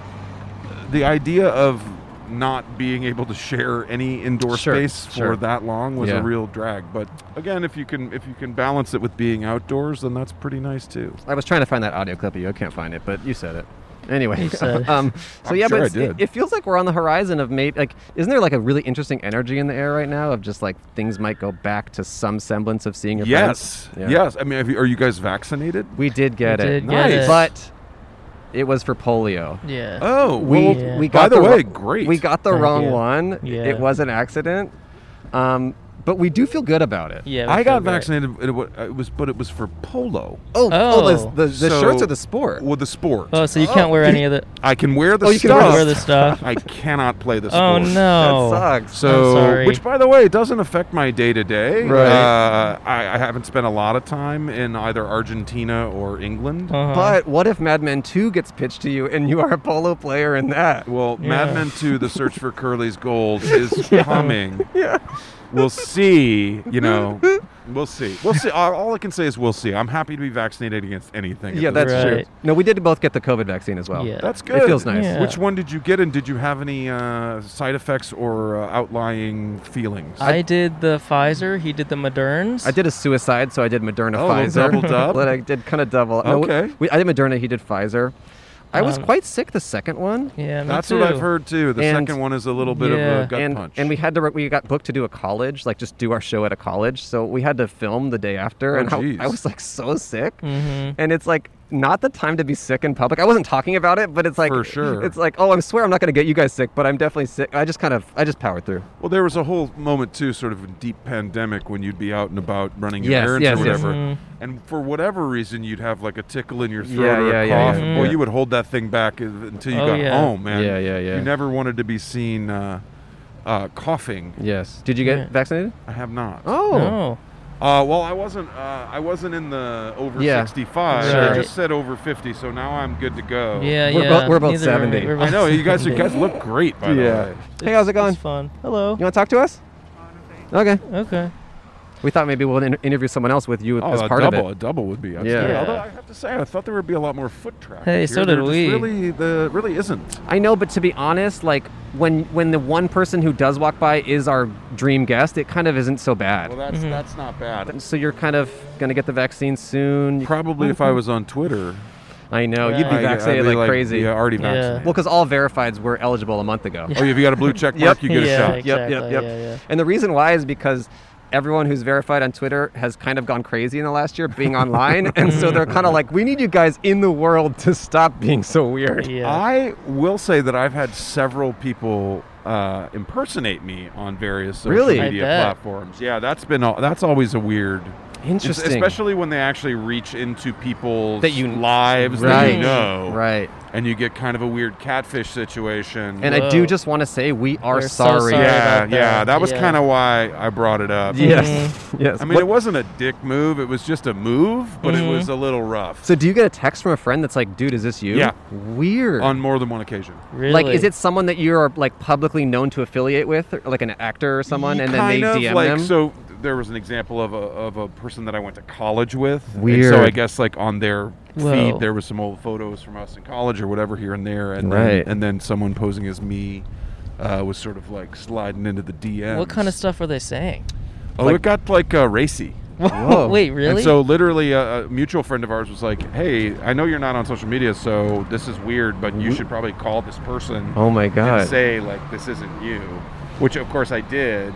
S5: the idea of not being able to share any indoor
S4: Sure,
S5: space
S4: sure.
S5: for that long was
S4: Yeah.
S5: a real drag. But again, if you can if you can balance it with being outdoors, then that's pretty nice too.
S4: I was trying to find that audio clip of you. I can't find it, but you said it. Anyway,
S1: You said it.
S4: um, so
S5: I'm
S4: yeah,
S5: sure I
S4: but it's- it,
S5: did.
S4: it feels like we're on the horizon of maybe like, isn't there like a really interesting energy in the air right now of just like things might go back to some semblance of seeing your
S5: Yes,
S4: friends? Yeah.
S5: yes. I mean, have you, are you guys vaccinated?
S4: we did get
S1: We
S4: it,
S1: did get
S5: Nice.
S1: it.
S4: but it was for polio.
S1: Yeah.
S5: Oh,
S4: We,
S5: well,
S1: Yeah.
S4: we
S5: by
S4: got
S5: the, way,
S4: wro-
S5: great.
S4: We got the
S1: Thank
S4: wrong
S1: you.
S4: one.
S1: Yeah.
S4: It was an accident, um, but we do feel good about it.
S1: yeah. we feel
S5: I got
S1: great.
S5: vaccinated. It, wa- it was, but it was for polo.
S4: Oh,
S1: Oh.
S4: oh, the, the, the
S5: So-
S4: shirts are the sport.
S5: Well, the sport.
S1: Oh, so you can't wear any of the.
S5: I can wear the
S4: Oh, you
S5: stuff.
S4: can wear the
S1: Wear the stuff.
S5: I cannot play the
S1: Oh
S5: sport.
S1: no.
S4: That sucks.
S5: So,
S1: sorry.
S5: which by the way, doesn't affect my day to day.
S4: Right.
S5: Uh, I, I haven't spent a lot of time in either Argentina or England.
S1: Uh-huh.
S4: But what if Mad Men 2 gets pitched to you and you are a polo player in that?
S5: Well,
S1: Yeah.
S5: Mad Men 2, The Search for Curly's Gold is coming. Yeah. We'll see, you know. We'll see. We'll see. All, all I can say is we'll see. I'm happy to be vaccinated against anything. at
S4: Yeah,
S5: this
S4: that's
S5: point.
S4: true.
S1: Right.
S4: No, we did both get the COVID vaccine as well.
S1: Yeah.
S5: That's good.
S4: It feels nice.
S1: Yeah.
S5: Which one did you get and did you have any uh, side effects or uh, outlying feelings?
S1: I did the Pfizer. He did the Moderns.
S4: I did a suicide, so I did Moderna
S5: Oh,
S4: Pfizer.
S5: double dub.
S4: but I did kind of double. no, we-
S5: Okay.
S4: we- I did Moderna, he did Pfizer. I was
S1: Um,
S4: quite sick the second one.
S1: Yeah. Me
S5: That's
S1: too.
S5: what I've heard too. The
S4: And-
S5: second one is a little bit of
S1: Yeah.
S5: a gut
S4: and,
S5: punch.
S4: and we had to re- we got booked to do a college like just do our show at a college so we had to film the day after
S5: Oh,
S4: and I-
S5: geez.
S4: I, was like so sick
S1: Mhm.
S4: and it's like not the time to be sick in public i wasn't talking about it but it's like
S5: For sure.
S4: it's like oh i'm swear i'm not going to get you guys sick but i'm definitely sick i just kind of i just powered through
S5: Well, there was a whole moment too, sort of a deep pandemic when you'd be out and about running your
S4: Yes,
S5: errands
S4: yes,
S5: or
S4: yes.
S5: whatever, and for whatever reason you'd have like a tickle in your throat
S4: Yeah,
S5: or
S4: yeah,
S5: a
S4: yeah,
S5: cough.
S4: yeah,
S5: Well,
S4: yeah.
S5: you would hold that thing back i- until you
S1: Oh,
S5: got
S1: yeah.
S5: home, man.
S4: Yeah, yeah, yeah.
S5: You never wanted to be seen uh, uh, coughing.
S4: yes did you get
S1: Yeah.
S4: vaccinated
S5: I have not.
S4: oh
S1: No.
S5: Uh, well, I wasn't. Uh, I wasn't in the over
S4: Yeah.
S5: 65. I
S1: Right.
S5: just said over 50, so now I'm good to go.
S1: Yeah.
S4: We're
S1: yeah.
S4: both- we're both
S1: Neither are we.
S4: 70.
S1: We're
S5: I
S1: both
S5: know you guys. You
S1: 70.
S5: guys look great, by the
S4: yeah
S5: way.
S4: hey how's it
S1: It's
S4: going
S1: fun. Hello. Uh,
S4: you want to talk to us okay
S1: Okay.
S4: We thought maybe we'll in- interview someone else with you
S5: Oh,
S4: as
S5: a
S4: part
S5: double,
S4: of it.
S5: a double would be.
S4: Yeah.
S5: Yeah. Although I have to say, I thought there would be a lot more foot traffic.
S4: Hey,
S5: here.
S4: so
S5: There
S4: did
S5: just
S4: we.
S5: Really, the really isn't.
S4: I know, but to be honest, like when when the one person who does walk by is our dream guest, it kind of isn't so bad.
S5: Well, that's that's not bad.
S4: so you're kind of gonna get the vaccine soon.
S5: Probably if I was on Twitter.
S4: I know you'd be
S5: Right.
S4: vaccinated
S5: I'd be
S4: like,
S5: like,
S4: crazy.
S5: yeah, already Yeah. vaccinated.
S4: Well, because all verifieds were eligible a month ago.
S5: Oh, if you got a blue check mark, you get a
S4: yep,
S5: shot.
S4: Yep, yep,
S1: exactly,
S4: yep.
S1: yeah, yeah.
S4: And the reason why is because everyone who's verified on Twitter has kind of gone crazy in the last year being online, and so they're
S5: Mm.
S4: kind of like, we need you guys in the world to stop being so weird.
S5: I will say that I've had several people uh, impersonate me on various social
S4: Really? I
S5: media
S4: bet.
S5: platforms. Yeah, that's been al- that's always a weird. it's-
S4: Interesting.
S5: Especially when they actually reach into people's
S4: That you-
S5: lives that
S4: Right.
S5: you know.
S4: Right.
S5: And you get kind of a weird catfish situation.
S4: And I do just want to say we are sorry.
S5: yeah, yeah. That Mm. was kind of why I brought it up.
S4: Yes, Mhm. yes.
S5: I mean,
S4: What-
S5: it wasn't a dick move. It was just a move, but
S4: Mhm.
S5: it was a little rough.
S4: So do you get a text from a friend that's like, dude, is this you?
S5: Yeah.
S4: Weird.
S5: On more than one occasion.
S4: Like, is it someone that you're like publicly known to affiliate with, or, like an actor or someone, and then they
S5: kind of,
S4: DM
S5: like,
S4: them?
S5: So there was an example of a of a person that I went to college with. and so
S4: Weird.
S5: I guess like on their
S4: Whoa.
S5: feed there was some old photos from us in college or whatever here and there, and
S4: Right.
S5: then, and then someone posing as me uh, was sort of like sliding into the DM.
S1: What kind of stuff were they saying?
S5: Oh,
S1: Like-
S5: it got like uh, racy.
S1: Whoa. Wait, really?
S5: Oh, And so literally, a, a mutual friend of ours was like, "Hey, I know you're not on social media, so this is weird, but you should probably call this person."
S4: Mm-hmm. Oh my God.
S5: And say like, "This isn't you," which of course I did,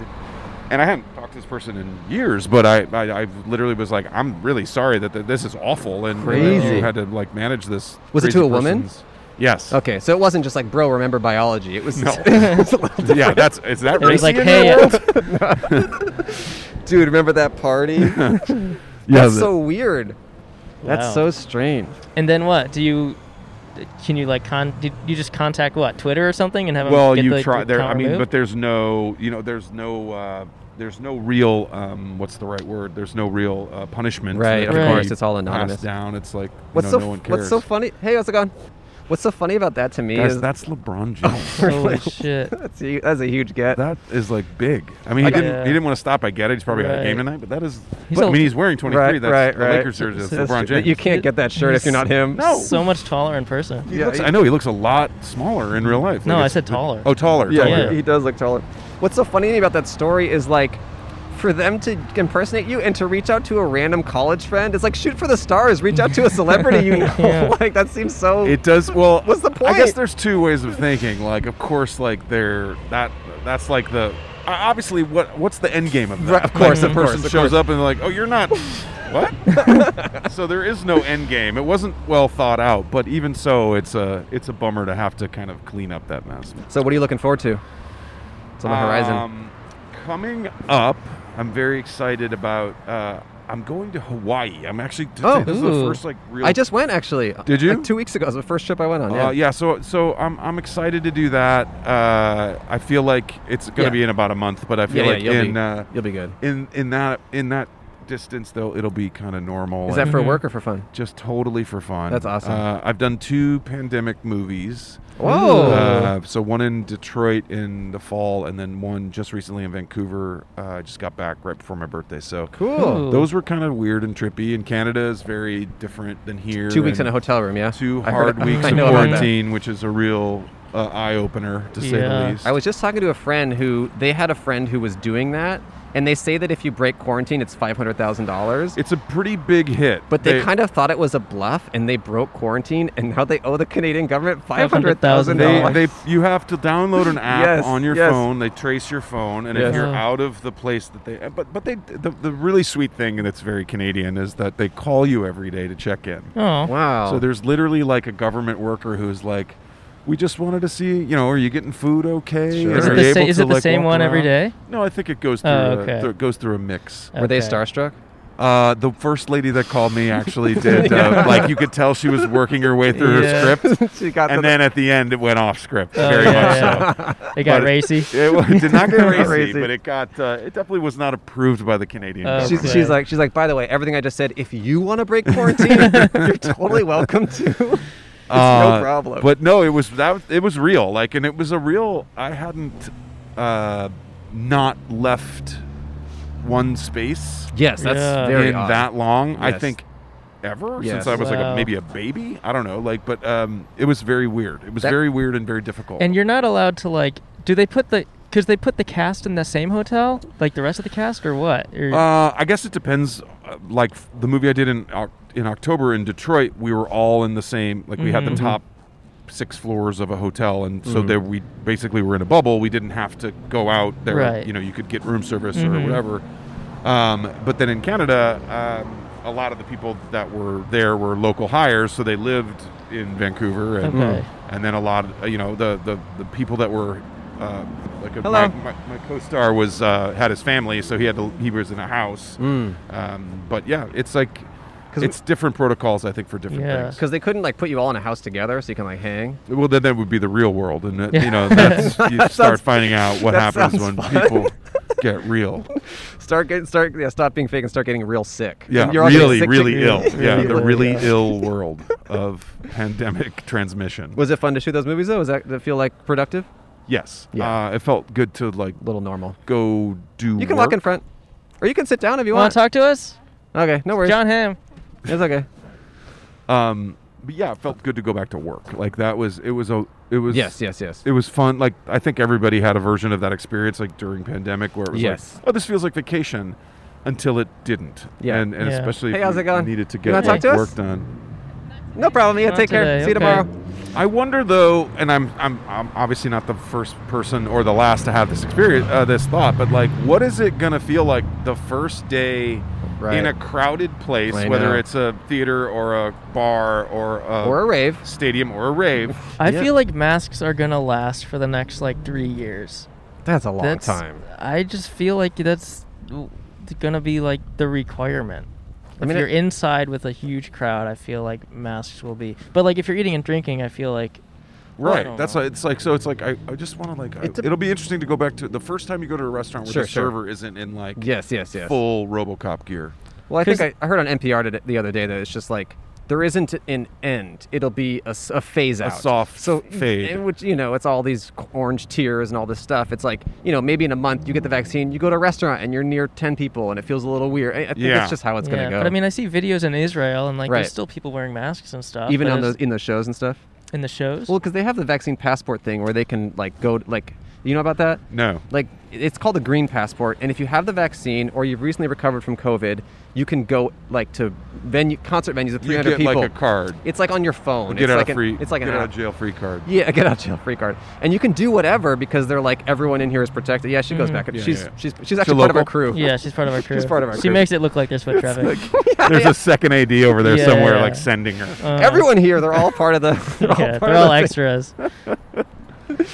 S5: and I hadn't talked to this person in years, but I I, I literally was like, "I'm really sorry that, that this is awful and that
S4: Crazy.
S5: you had to like manage this."
S4: Was it
S5: crazy
S4: to a woman? Oh.
S5: person's- Yes.
S4: Okay, so it wasn't just like, bro, remember biology. It was.
S5: No.
S4: it's a little
S5: yeah,
S4: different.
S5: that's is that
S4: It was
S5: racy
S4: like,
S5: in
S4: "Hey, uh,
S1: uh,
S5: your
S4: world? Dude, remember that party? that's
S5: the-
S4: so weird.
S1: Wow.
S4: That's so strange.
S1: And then what? Do you? Can you like con? Did you just contact what Twitter or something and have them
S5: well
S1: get
S5: you
S1: the
S5: try
S1: account
S5: there i mean
S1: removed?
S5: but there's no you know there's no uh, there's no real um, what's the right word there's no real uh, punishment
S4: Right,
S5: that
S4: of
S5: can
S4: course,
S5: be
S4: it's all
S5: passed
S4: anonymous.
S5: down it's like
S4: What's
S5: you know,
S4: so
S5: no one cares
S4: What's so funny? Hey, how's it going? What's so funny about that to me
S5: Guys,
S4: is
S5: that's LeBron James.
S1: Holy shit.
S4: That's a, that's a huge get.
S5: That is like big. I mean, he
S4: I got-
S5: didn't.
S4: Yeah.
S5: He didn't want to stop. I get it. He's probably got
S4: Right.
S5: a game tonight. But that is.
S1: He's
S5: but, I
S1: a-
S5: mean, he's wearing 23.
S4: Right,
S5: that's
S4: right,
S5: the
S4: right.
S5: Lakers jersey. That's
S4: That's
S5: LeBron
S4: true.
S5: James.
S4: You can't get that shirt if you're not him.
S5: No.
S1: So much taller in person.
S5: He looks- I know he looks a lot smaller in real life.
S1: No, I
S5: Like, it's-
S1: said taller.
S5: Oh, taller.
S4: Yeah,
S5: taller.
S4: He, he does look taller. What's so funny to me about that story is like for them to impersonate you and to reach out to a random college friend, it's like shoot for the stars, reach out to a celebrity you know.
S5: Yeah.
S4: like that seems so
S5: It does well.
S4: What's the
S5: I guess
S4: point?
S5: there's two ways of thinking. Like, of course, like they're that. That's like the uh, obviously what what's the end game of that?
S4: Right, of course,
S5: like,
S4: of
S5: the
S4: course,
S5: person
S4: of
S5: shows
S4: course.
S5: up and they're like, oh, you're not. what? so there is no end game. It wasn't well thought out, but even so, it's a it's a bummer to have to kind of clean up that mess.
S4: So what are you looking forward to? It's on the horizon.
S5: Um, coming up, I'm very excited about. Uh, I'm going to Hawaii. I'm actually. this is the
S4: ooh.
S5: first like real.
S4: Oh. I just went actually.
S5: Did you?
S4: Like two weeks ago. It was the first trip I went on.
S5: Uh, yeah, so so I'm, I'm excited to do that. Uh, I feel like it's going to
S4: Yeah.
S5: be in about a month, but I feel
S4: Yeah, yeah,
S5: like
S4: you'll
S5: in
S4: be-
S5: uh,
S4: you'll be good.
S5: in in that in that distance though, it'll be kind of normal.
S4: Is that for
S5: and
S4: work or for fun?
S5: Just totally for fun.
S4: That's awesome.
S5: Uh, I've done two pandemic movies.
S4: Whoa.
S5: Uh, so one in Detroit in the fall, and then one just recently in Vancouver. Uh, I just got back right before my birthday. So
S4: Cool. Ooh.
S5: Those were kind of weird and trippy. And Canada is very different than here.
S4: Two weeks
S5: and
S4: in a hotel room, yeah?
S5: Two
S4: I heard-
S5: hard weeks
S4: I
S5: in
S4: know about that.
S5: quarantine, which is a real uh, eye opener to say the least.
S4: I was just talking to a friend who they had a friend who was doing that, and they say that if you break quarantine, it's five hundred thousand dollars.
S5: It's a pretty big hit.
S4: But they,
S5: They-
S4: kind of thought it was a bluff, and they broke quarantine, and now they owe the Canadian government five hundred thousand dollars.
S5: They, they, you have to download an app
S4: Yes,
S5: on your
S4: yes.
S5: phone. They trace your phone, and
S4: Yes.
S5: if you're
S4: Oh.
S5: out of the place that they, but but they, the, the really sweet thing that's very Canadian is that they call you every day to check in.
S1: Oh.
S4: Wow.
S5: So there's literally like a government worker who's like, we just wanted to see, you know, are you getting food okay?
S1: Sure. Is
S5: Are
S1: it the
S5: you
S1: sa-
S5: able
S1: is
S5: to,
S1: it the
S5: like,
S1: same
S5: walk
S1: one every
S5: around?"
S1: day?
S5: No, I think it goes through.
S1: Oh,
S5: a-
S1: okay.
S5: through- it goes through a mix.
S4: Were they starstruck?
S5: Uh, the first lady that called me actually did. Uh, like you could tell she was working her way through
S4: Yeah.
S5: her script,
S4: She got to
S5: and
S4: the-
S5: then at the end it went off script.
S1: Oh,
S5: very
S1: yeah,
S5: much
S1: yeah.
S5: so.
S1: It got
S5: But
S1: racy.
S5: It, it did not get
S4: Got
S5: racy,
S4: racy.
S5: but it got. Uh, it definitely was not approved by the Canadian.
S4: Oh. She's-
S5: government.
S4: She's, like, she's like. By the way, everything I just said. If you want to break quarantine, you're totally welcome to. It's
S5: Uh,
S4: no problem.
S5: But no, it was that. was- It was real. Like, and it was a real. I hadn't uh, not left one space.
S4: Yes, that's
S1: Yeah.
S4: very
S5: in
S4: odd.
S5: that long. I
S4: Yes.
S5: think ever
S4: Yes.
S5: since I was like
S1: Wow.
S5: a, maybe a baby. I don't know. Like, but um, it was very weird. It was
S4: That-
S5: very weird and very difficult.
S1: And you're not allowed to like. Do they put the? Because they put the cast in the same hotel, like the rest of the cast, or what? Or,
S5: uh, I guess it depends. uh, Like f- the movie I did in Oc- in October in Detroit, we were all in the same. Like we had the top six floors of a hotel, and
S4: Mm-hmm.
S5: so there we basically were in a bubble. We didn't have to go out there.
S1: Right.
S5: You know, you could get room service
S4: Mm-hmm.
S5: or whatever. Um, but then in Canada, um, a lot of the people that were there were local hires, so they lived in Vancouver, and,
S1: Okay.
S4: Hmm.
S5: and then a lot of uh, you know the the, the people that were. Uh, like a,
S4: Hello.
S5: my, my, my co-star was uh, had his family, so he had to, he was in a house. Um, but yeah, it's like
S4: Hmm. 'Cause
S5: it's different protocols, I think, for different
S1: Yeah.
S5: things.
S4: Because they couldn't like put you all in a house together so you can like hang.
S5: Well, then that would be the real world, and that,
S1: Yeah.
S5: you know, that's, you start
S4: sounds-
S5: finding out what
S4: that
S5: happens when
S4: sounds
S5: people get real.
S4: Start getting start yeah, stop being fake and start getting real sick.
S5: Yeah,
S4: And you're all getting
S5: really,
S4: sick,
S5: really
S4: sick,
S5: ill. Yeah, the
S4: ill.
S5: really ill world of pandemic transmission.
S4: Was it fun to shoot those movies though? Was that did it feel like productive?
S5: yes,
S4: Yeah.
S5: uh, it felt good to like
S4: A little normal.
S5: go do.
S4: You can
S5: work.
S4: walk in front, or you can sit down if you
S1: want
S4: want.
S1: to talk to us,
S4: Okay, no worries.
S1: John Hamm?
S4: It's okay.
S5: Um, but yeah, it felt good to go back to work. Like that was it was a it was
S4: Yes, yes, yes.
S5: it was fun. Like I think everybody had a version of that experience, like during pandemic, where it was
S4: Yes.
S5: like, oh, this feels like vacation, until it didn't.
S4: Yeah.
S5: and, and
S1: Yeah.
S5: especially
S4: Hey,
S5: if
S4: how's
S5: we
S4: it going?
S5: needed to
S4: You
S5: get
S4: wanna talk to us?
S5: work done.
S4: No problem. Yeah,
S1: Not
S4: take care.
S1: today,
S4: See you
S1: okay.
S4: tomorrow.
S5: I wonder though, and I'm I'm I'm obviously not the first person or the last to have this experience, uh, this thought, but like, what is it gonna feel like the first day?
S4: Right.
S5: In a crowded place,
S4: I
S5: whether
S4: know.
S5: it's a theater or a bar or a,
S4: Or a rave.
S5: stadium or a rave,
S1: I
S4: Yeah.
S1: feel like masks are gonna last for the next like three years.
S4: That's a long
S1: that's,
S4: time.
S1: I just feel like that's w- gonna be like the requirement.
S4: I mean,
S1: if you're
S4: it-
S1: inside with a huge crowd, I feel like masks will be. But like if you're eating and drinking, I feel like I
S5: Right.
S1: don't
S5: That's
S1: know.
S5: why it's like so. It's like I, I just want to like. I,
S4: It dep-
S5: it'll be interesting to go back to the first time you go to a restaurant where
S4: Sure,
S5: the
S4: sure.
S5: server isn't in like
S4: Yes, yes, yes.
S5: full RoboCop gear.
S4: Well, I think
S1: 'Cause-
S4: I, I heard on NPR today, the other day that it's just like there isn't an end. It'll be a, s- a phase out,
S5: soft
S4: so
S5: fade.
S4: and which you know, it's all these orange tears and all this stuff. It's like you know, maybe in a month you get the vaccine, you go to a restaurant and you're near ten people, and it feels a little weird. I, I think
S5: Yeah.
S4: that's just how it's
S1: yeah.
S4: gonna go.
S1: But I mean, I see videos in Israel and like
S4: Right.
S1: there's still people wearing masks and stuff.
S4: even
S1: but
S4: on
S1: it's-
S4: those in those shows and stuff.
S1: in the shows.
S4: Well, because they have the vaccine passport thing where they can like go like you know about that.
S5: No.
S4: Like it's called the green passport, and if you have the vaccine or you've recently recovered from COVID, you can go like to venue concert venues with
S5: You
S4: 300
S5: get
S4: people.
S5: like a card.
S4: It's like on your phone.
S5: Get
S4: it's
S5: out
S4: like
S5: of free.
S4: An, it's like
S5: get
S4: an
S5: out
S4: app.
S5: of jail free card.
S4: Yeah, a get out of jail free card, and you can do whatever because they're like everyone in here is protected. Yeah, she goes back.
S5: Yeah,
S4: she's,
S5: yeah.
S4: she's she's actually part of
S5: local?
S4: our crew.
S1: Mm. yeah, she's part of our crew.
S4: She's part of our
S1: She
S4: crew.
S1: makes it look like there's foot traffic.
S5: There's a second AD over there
S1: Yeah,
S5: somewhere,
S1: yeah.
S5: like sending her.
S1: Uh,
S4: Everyone here, they're all part of the. They're all
S1: yeah,
S4: part
S1: they're all
S4: of the thing.
S1: extras.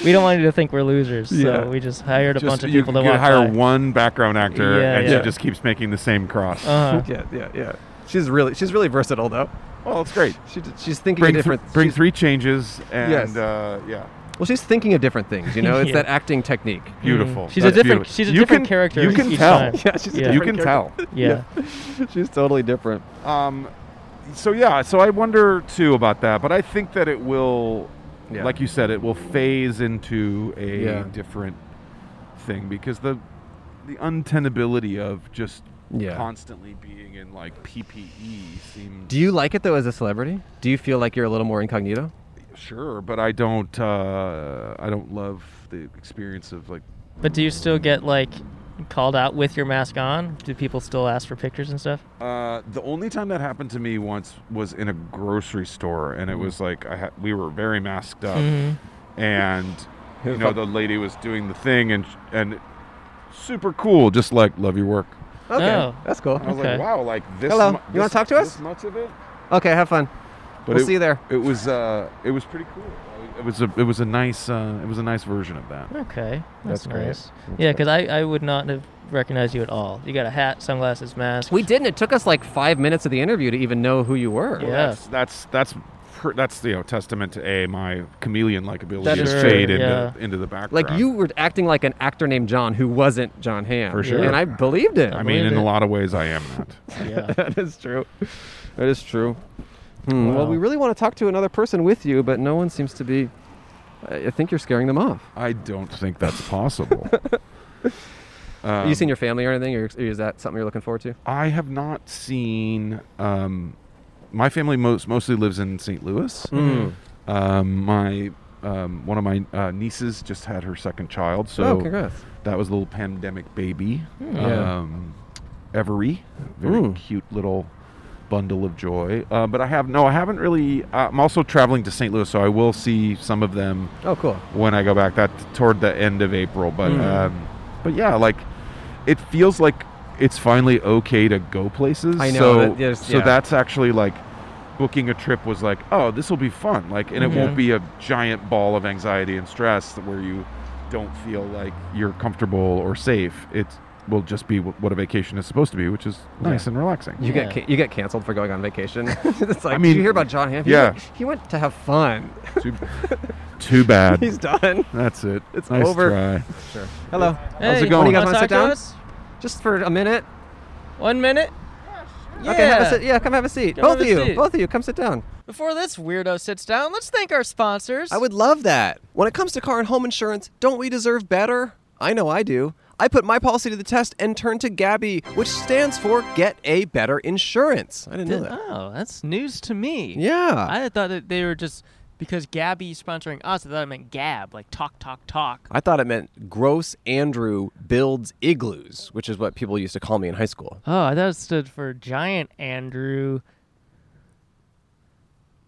S1: we don't want you to think we're losers,
S5: Yeah.
S1: so we just hired a
S5: Just
S1: bunch of
S5: you
S1: people that
S5: you
S1: want
S5: hire
S1: by.
S5: one background actor,
S1: Yeah,
S5: and
S1: yeah.
S5: she just keeps making the same cross.
S1: Uh-huh.
S4: Yeah, yeah, yeah. She's really she's really versatile though.
S5: well, it's great.
S4: She, d- she's thinking
S5: Bring
S4: of
S5: th-
S4: different.
S5: bring
S4: she's-
S5: three changes, and
S4: Yes.
S5: uh, yeah,
S4: Well, she's thinking of different things. You know, it's
S1: Yeah.
S4: that acting technique.
S5: beautiful.
S1: Mm. She's a
S5: That's
S1: different-
S5: beautiful.
S1: she's a
S5: You
S1: different
S5: can-
S1: character
S5: You can
S1: each
S5: tell.
S1: time. Yeah,
S4: she's
S1: a Yeah.
S5: You can
S1: different
S5: tell.
S1: Yeah.
S4: she's totally different.
S5: Um, so yeah, so I wonder too about that, but I think that it will,
S4: Yeah.
S5: like you said, it will phase into a
S4: Yeah.
S5: different thing because the the untenability of just
S4: Yeah.
S5: constantly being in like PPE seems
S4: Do you like it though as a celebrity? Do you feel like you're a little more incognito?
S5: sure, but I don't uh, I don't love the experience of like
S1: But do you still get like called out with your mask on? Do people still ask for pictures and stuff?
S5: Uh, the only time that happened to me once was in a grocery store, and it was like I ha- we were very masked up,
S4: Mm-hmm.
S5: and you know the lady was doing the thing and and super cool, just like love your work.
S4: Okay,
S1: No.
S4: that's cool.
S5: I was
S1: Okay.
S5: like, wow, like this.
S4: Hello,
S5: mu-
S4: you wanna
S5: this-
S4: talk to us?
S5: This much of it,
S4: Okay, have fun.
S5: But
S4: we'll
S5: it-
S4: see you there.
S5: It was uh, it was pretty cool. It was a it was a nice uh, it was a nice version of that.
S1: Okay,
S4: That's
S1: that's,
S4: great.
S1: nice. yeah, because I, I would not have recognized you at all. You got a hat, sunglasses, mask.
S4: We didn't. It took us like five minutes of the interview to even know who you were.
S1: Yeah.
S5: That's that's that's pr- that's you know testament to a my chameleon like ability
S1: That
S5: to
S1: is true,
S5: fade into
S1: yeah.
S5: into the background.
S4: Like you were acting like an actor named John who wasn't John Hamm.
S5: For sure.
S4: And I believed it.
S5: I mean,
S1: believe
S5: in
S1: it.
S5: a lot of ways, I am that.
S1: yeah.
S4: that is true. That is true. Hmm, Well,
S1: Wow.
S4: we really want to talk to another person with you, but no one seems to be. I I think you're scaring them off.
S5: I don't think that's possible.
S3: Have you
S5: Um,
S3: seen your family or anything, or is that something you're looking forward to?
S5: I have not seen. Um, my family most mostly lives in St. Louis.
S3: Mm.
S5: Um, my um, one of my uh, nieces just had her second child, so
S3: Oh, congrats. Hmm,
S5: that was a little pandemic baby.
S3: Yeah.
S5: Um, Every very
S3: Mm.
S5: cute little bundle of joy. Uh, but I have no, I haven't really. uh, I'm also traveling to St. Louis, so I will see some of them
S3: Oh, cool.
S5: when I go back. That toward the end of April, but
S3: Hmm.
S5: um, but yeah, like it feels like it's finally okay to go places.
S3: I know,
S5: So,
S3: that- yes,
S5: so
S3: yeah.
S5: that's actually like booking a trip was like, oh, this will be fun. Like, and it
S3: Mm-hmm.
S5: won't be a giant ball of anxiety and stress where you don't feel like you're comfortable or safe. It will just be wh- what a vacation is supposed to be, which is nice and relaxing.
S3: You get ca- you get canceled for going on vacation. it's like,
S5: I
S3: I mean,
S5: mean,
S3: you hear about John Hamm? He
S5: yeah.
S3: went- he went to have fun.
S5: too, too bad.
S3: He's done.
S5: that's it.
S3: It's
S5: nice
S3: over.
S5: Try.
S3: Hello.
S1: Hey,
S3: How's it going? You guys
S1: wanna
S3: want to sit
S1: talk
S3: down?
S1: us?
S3: Just for a minute.
S1: One minute? Yeah.
S3: Okay, have a sit. Yeah, come have a seat.
S1: Come
S3: both
S1: have
S3: of
S1: a
S3: you.
S1: seat.
S3: Both of you, come sit down.
S1: Before this weirdo sits down, let's thank our sponsors.
S4: I would love that. When it comes to car and home insurance, don't we deserve better? I know I do. I put my policy to the test and turned to Gabby, which stands for Get a Better Insurance. I didn't know that.
S1: Oh, that's news to me.
S4: Yeah.
S1: I thought that they were just because Gabby's sponsoring us. I thought it meant Gab, like talk, talk, talk.
S4: I thought it meant Gross Andrew Builds Igloos, which is what people used to call me in high school.
S1: Oh, I thought it stood for Giant Andrew.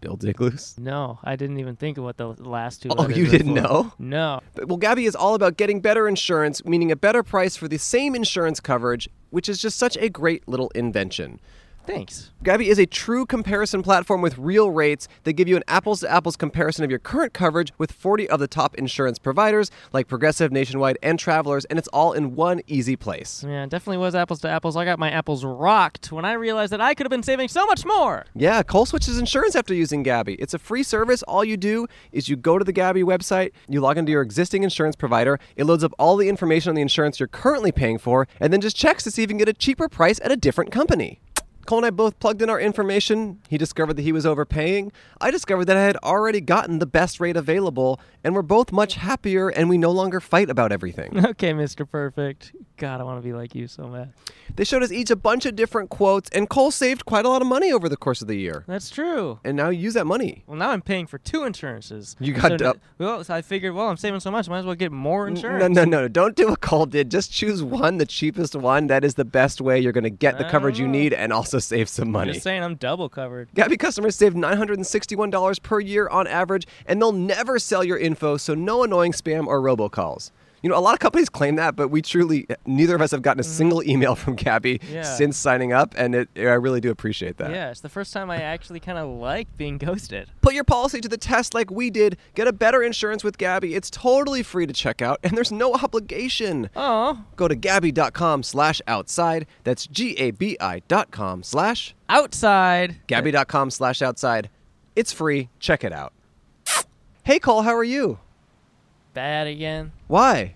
S4: Builds Igloos?
S1: No, I didn't even think of what the last two.
S4: Oh,
S1: letters
S4: you
S1: were
S4: didn't
S1: for.
S4: know?
S1: No.
S4: But- Well, Gabby is all about getting better insurance, meaning a better price for the same insurance coverage, which is just such a great little invention.
S1: Thanks.
S4: Gabby is a true comparison platform with real rates that give you an apples to apples comparison of your current coverage with 40 of the top insurance providers like Progressive, Nationwide, and Travelers, and it's all in one easy place.
S1: Yeah, it definitely was apples to apples. I got my apples rocked when I realized that I could have been saving so much more.
S4: Yeah, Cole switches insurance after using Gabby. It's a free service. All you do is you go to the Gabby website, you log into your existing insurance provider, it loads up all the information on the insurance you're currently paying for, and then just checks to see if you can get a cheaper price at a different company. Cole and I both plugged in our information. He discovered that he was overpaying. I discovered that I had already gotten the best rate available, and we're both much happier and we no longer fight about everything.
S1: Okay, Mr. Perfect. God, I want to be like you so bad.
S4: they showed us each a bunch of different quotes, and Cole saved quite a lot of money over the course of the year.
S1: That's true.
S4: And now you use that money.
S1: Well, now I'm paying for two insurances.
S4: You got
S1: so
S4: dou-
S1: n- Well, so I figured, well, I'm saving so much, might as well get more insurance.
S4: No, no, no. Don't do what Cole did. Just choose one, the cheapest one. That is the best way you're going to get the coverage you need and also save some money.
S1: Just saying, I'm double covered.
S4: Gabby customers save $961 per year on average, and they'll never sell your info, so no annoying spam or robocalls. You know, a lot of companies claim that, but we truly, neither of us have gotten a single email from Gabby
S1: Mm-hmm. Yeah.
S4: since signing up, and it, I really do appreciate that.
S1: Yeah, it's the first time I actually kind of like being ghosted.
S4: Put your policy to the test like we did. Get a better insurance with Gabby. It's totally free to check out, and there's no obligation.
S1: Oh,
S4: go to gabby.com slash outside that's g-a-b-i dot com slash
S1: outside.
S4: gabby.com slash outside it's free check it out hey cole how are you
S1: Bad again.
S4: why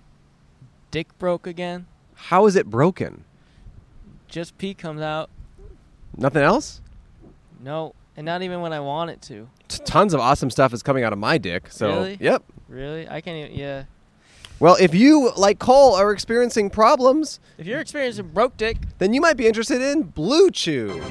S1: Dick broke again.
S4: how is it broken
S1: Just pee comes out.
S4: nothing else
S1: No, and not even when I want it to.
S4: T- tons of awesome stuff is coming out of my dick so
S1: Really?
S4: yep
S1: Really? I can't even. Yeah.
S4: well if you like cole are experiencing problems
S1: If you're experiencing broke dick,
S4: then you might be interested in Blue Chew.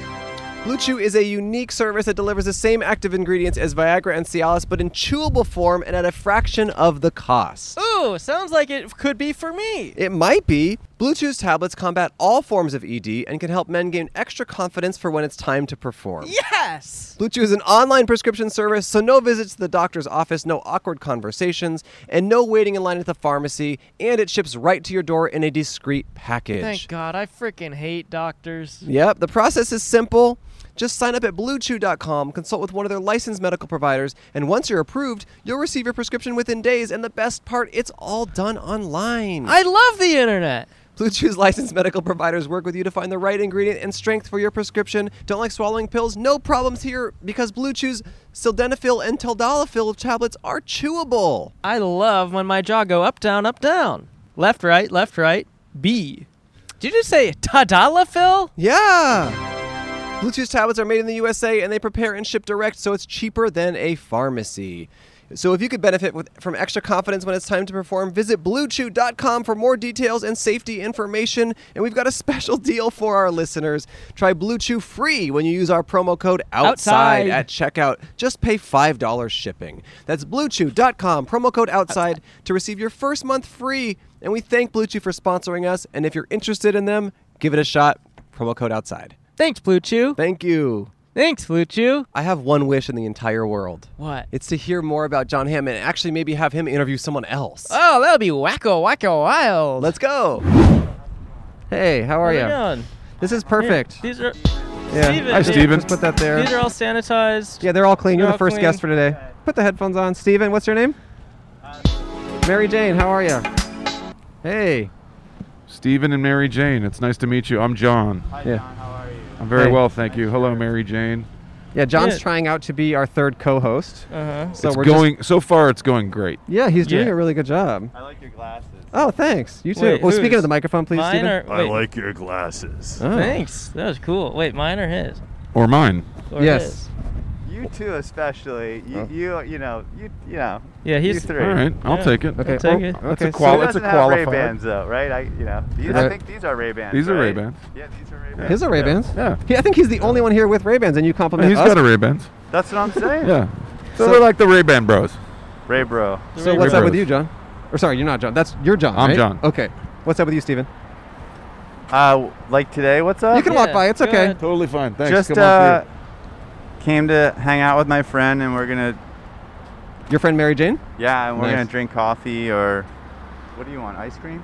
S4: Blue Chew is a unique service that delivers the same active ingredients as Viagra and Cialis, but in chewable form and at a fraction of the cost.
S1: ooh, sounds like it could be for me.
S4: It might be. Blue Chew's tablets combat all forms of ED and can help men gain extra confidence for when it's time to perform.
S1: Yes.
S4: Blue Chew is an online prescription service, so no visits to the doctor's office, no awkward conversations, and no waiting in line at the pharmacy, and it ships right to your door in a discreet package.
S1: Thank God. I freaking hate doctors.
S4: Yep, the process is simple. Just sign up at bluechew.com, consult with one of their licensed medical providers, and once you're approved, you'll receive your prescription within days. And the best part, it's all done online.
S1: I love the internet.
S4: Blue Chew's licensed medical providers work with you to find the right ingredient and strength for your prescription. Don't like swallowing pills? No problems here because Blue Chew's sildenafil and tadalafil tablets are chewable.
S1: I love when my jaw go up, down, up, down, left, right, left, right, B. Did you just say tadalafil?
S4: Yeah. Bluetooth tablets are made in the USA and they prepare and ship direct, so it's cheaper than a pharmacy. So if you could benefit with, from extra confidence when it's time to perform, visit bluechew.com for more details and safety information. And we've got a special deal for our listeners. Try Blue Chew free when you use our promo code
S1: Outside.
S4: outside, at checkout. Just pay $5 shipping. That's bluechew.com, promo code outside to receive your first month free. And we thank Blue Chew for sponsoring us. And if you're interested in them, give it a shot. Promo code outside.
S1: Thanks, Blue Chew.
S4: Thank you.
S1: Thanks, Blue Chew.
S4: I have one wish in the entire world.
S1: What?
S4: It's to hear more about John Hamm and actually maybe have him interview someone else.
S1: Oh, that'll be wacko, wacko, wild.
S4: Let's go. Hey, how
S1: How
S4: are
S1: you
S4: you?
S1: doing?
S4: This is perfect.
S1: Here, These are.
S4: Yeah.
S1: Steven,
S5: Hi,
S1: dude.
S5: Steven.
S4: Just put that there.
S1: These are all sanitized.
S4: Yeah, they're all clean. You're
S1: They're
S4: the
S1: all
S4: first
S1: clean.
S4: guest for today. Put the headphones on. Steven, what's your name?
S1: Uh,
S4: Mary Jane, how are you? Hey.
S5: Stephen and Mary Jane, it's nice to meet you. I'm John.
S4: Yeah.
S5: I'm very
S4: Hey.
S5: well, thank you. Hello, Mary Jane.
S4: Yeah, John's
S1: Yeah.
S4: trying out to be our third co-host.
S1: Uh huh.
S4: So
S5: it's
S4: we're just-
S5: going so far. It's going great.
S4: Yeah, he's doing
S1: Yeah.
S4: a really good job. I like your glasses. Oh, thanks. You too.
S1: Wait,
S4: well, speaking
S1: whose?
S4: of the microphone, please,
S1: Mine
S4: Steven.
S1: or wait,
S3: your glasses.
S4: Oh.
S1: Thanks. That was cool. Wait, mine or his?
S5: Or mine.
S1: Or
S4: Yes.
S1: his?
S3: You two especially. You
S4: Oh.
S3: you you know you you know.
S1: Yeah,
S3: You
S1: he's.
S3: three.
S5: All right, I'll
S1: Yeah.
S5: take it.
S1: Okay.
S4: oh,
S1: Take it.
S5: That's
S4: okay,
S5: a qual.
S3: Who
S5: That's a
S3: doesn't have Ray
S5: qualifier.
S3: Bans though, right? I you know. These,
S4: Yeah.
S3: I think these are Ray Bans.
S5: These are
S3: right?
S5: Ray-Bans.
S3: Yeah, these are Ray Bans.
S4: He's a Ray Bans.
S5: Yeah.
S4: I think he's the only one here with Ray Bans, and you compliment
S5: He's
S4: us.
S5: got a Ray Ban.
S3: That's what I'm saying.
S5: Yeah. So,
S4: So-
S5: we're like the Ray Ban Bros.
S3: Ray bro.
S4: So what's up
S5: Ray
S4: with
S5: Bans.
S4: you, John? Or sorry, you're not John. That's you're John.
S5: I'm
S4: right?
S5: John.
S4: Okay. What's up with you, Steven?
S3: Uh, like today, what's up?
S4: You can walk by. It's
S1: go
S4: okay.
S1: ahead.
S5: Totally fine. Thanks.
S3: Just uh, came to hang out with my friend, and we're gonna
S4: Your friend Mary Jane.
S3: yeah, and we're
S4: Nice.
S3: gonna drink coffee or what do you want? Ice cream?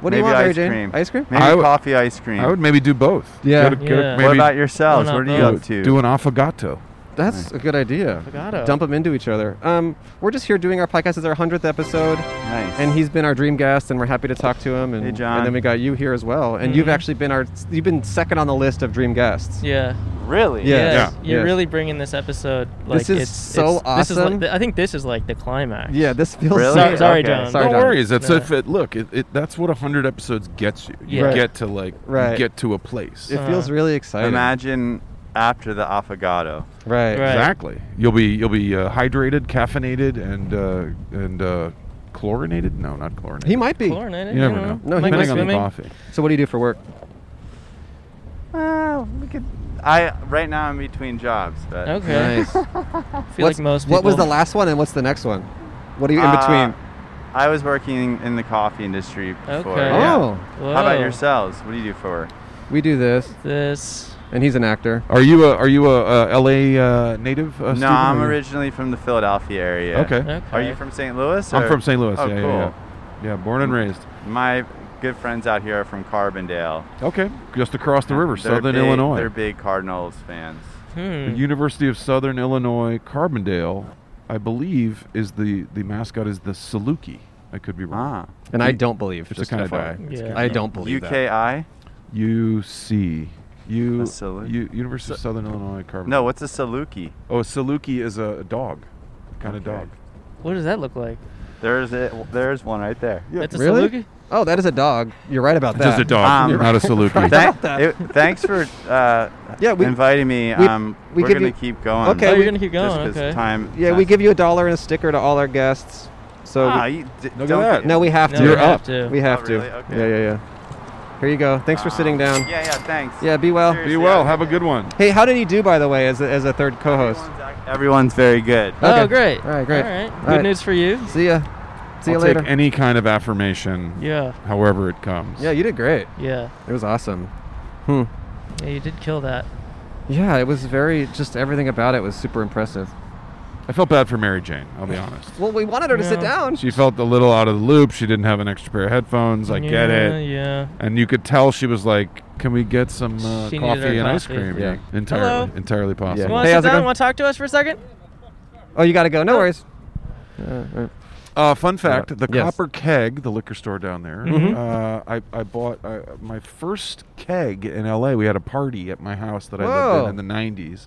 S4: What do
S3: Maybe
S4: you want, Mary
S3: ice
S4: Jane?
S3: cream.
S4: Ice cream.
S3: Maybe
S5: I would-
S3: coffee, ice cream.
S5: I would maybe do both.
S4: Yeah.
S5: Go to- go to
S1: Yeah.
S5: Maybe
S3: what about yourselves?
S1: Why not
S3: What are
S5: do,
S3: you up to?
S5: do an affogato.
S4: That's a good idea.
S1: Affogato.
S4: Dump them into each other. Um, we're just here doing our podcast. It's our hundredth episode,
S3: nice.
S4: and he's been our dream guest, and we're happy to talk to him. And,
S3: Hey, John.
S4: and then we got you here as well. And you've
S1: Mhm.
S4: actually been our you've been second on the list of dream guests.
S1: Yeah.
S3: really?
S4: Yeah.
S1: Yes,
S4: Yeah.
S1: You're
S4: Yes.
S1: really bringing this episode. Like,
S4: This is
S1: it's,
S4: so
S1: it's- This is like
S4: awesome.
S1: the- I think this is like the climax.
S4: Yeah, This feels
S3: Really?
S4: so-
S1: Sorry, sorry,
S3: Okay.
S1: John.
S4: Sorry,
S5: no
S4: John.
S5: worries. That's
S1: No.
S5: if it, look. It, it, that's what hundred episodes gets you. You
S1: Yeah.
S5: get to like you
S4: Right.
S5: get to a place.
S4: It
S1: Uh,
S4: feels really exciting.
S3: Imagine after the affogato.
S4: Right.
S1: Right.
S5: Exactly. You'll be you'll be uh, hydrated, caffeinated, and uh, and uh, chlorinated. No, not chlorinated.
S4: He might be.
S1: Chlorinated.
S5: You never
S1: eh? you
S5: know.
S4: No, he
S1: Might be
S5: Depending on the
S1: swimming.
S5: coffee.
S4: So what do you do for work?
S3: Uh, we could. I right now I'm between jobs, but
S1: Okay. I feel like most. People,
S4: What was the last one and what's the next one? What are you in
S3: Uh,
S4: between?
S3: I was working in the coffee industry before.
S1: Okay.
S3: yeah.
S4: Oh,
S3: How about
S1: Whoa.
S3: yourselves? What do you do for work?
S4: we do this,
S1: This.
S4: and he's an actor.
S5: Are you a are you a, uh L.A. Uh, native? Uh,
S3: no,
S5: Stephen,
S3: I'm
S5: or you-
S3: originally from the Philadelphia area.
S5: Okay.
S1: Okay.
S3: Are you from St. Louis?
S5: I'm
S3: or-
S5: from St. Louis.
S3: Oh,
S5: yeah,
S3: cool.
S5: yeah,
S3: Mm.
S5: yeah. Yeah, born and raised.
S3: My good friends out here are from Carbondale.
S5: Okay, just across the river,
S3: They're
S5: Southern
S3: big- They're
S5: Illinois.
S3: big Cardinals fans.
S5: The
S1: Hmm.
S5: University of Southern Illinois, Carbondale, I believe, is the the mascot is the Saluki. I could be wrong.
S3: Ah.
S4: And I don't believe.
S5: It's
S4: Just
S5: a kind of
S4: FYI.
S5: guy.
S1: Yeah.
S4: I don't believe that.
S3: UKI?
S5: UC. U,
S3: A Salu-
S5: U- University of Southern Illinois Carbondale.
S3: No, what's a Saluki?
S5: Oh, a Saluki is a dog, kind of
S3: Okay.
S5: dog.
S1: What does that look like?
S3: There's a, there's one right there.
S1: That's a
S4: Really?
S1: Saluki?
S4: Oh, that is a dog. You're right about that.
S5: Just a dog,
S3: Um,
S5: not a Saluki.
S3: Thank- it- thanks for uh,
S4: Yeah, we-
S3: inviting me.
S4: we-
S3: um,
S4: we
S3: we are
S4: give
S3: gonna
S4: you-
S3: keep going.
S4: Okay,
S1: Oh,
S4: we-
S1: you're gonna keep
S3: Just
S1: going.
S3: 'cause
S1: Okay.
S3: time.
S4: Yeah, we give you a dollar and a sticker to all our guests. So
S3: Ah,
S4: we,
S3: you d-
S5: Look at
S3: don't
S5: that.
S3: get-
S4: no, we have
S1: No,
S4: to.
S1: we You're have up. to.
S4: We have
S3: Oh,
S4: to.
S3: really? Okay. Ah,
S4: Yeah, yeah, yeah. Here you go. Thanks for sitting down.
S3: Yeah, yeah. Thanks.
S4: um, Yeah, be well.
S5: Be well. Have a good one.
S4: Hey, how did he do, by the way, as a, as a third co-host?
S3: Everyone's, ac- everyone's very good.
S4: Okay.
S1: Oh, great.
S4: All right, great.
S1: All right. Good
S4: All right.
S1: news for you.
S4: See ya. See
S5: I'll
S4: you later.
S5: take any kind of affirmation,
S1: Yeah.
S5: however it comes.
S4: yeah, you did great.
S1: Yeah.
S4: It was awesome.
S1: Yeah, you did kill that.
S4: Yeah, it was very just everything about it was super impressive.
S5: I felt bad for Mary Jane. I'll be honest.
S4: Well, we wanted her to sit
S1: Yeah.
S4: down.
S5: She felt a little out of the loop. She didn't have an extra pair of headphones. I get
S1: Yeah,
S5: it.
S1: Yeah.
S5: And you could tell she was like, "Can we get some uh,
S1: She needed
S5: coffee
S1: her
S5: and ice
S1: coffee.
S5: cream?"
S4: Yeah.
S5: entirely,
S1: Hello?
S5: entirely possible.
S1: You want
S4: Hey,
S1: to
S4: how's
S1: sit
S4: it
S1: down?
S4: going?
S1: Want to talk to us for a second?
S4: Oh, you gotta go. No worries.
S5: Uh, fun fact: the
S4: Yes. Mm-hmm.
S5: Copper Keg, the liquor store down there. Uh, I, I bought uh, my first keg in L.A. We had a party at my house that I lived
S4: Whoa.
S5: in in the '90s.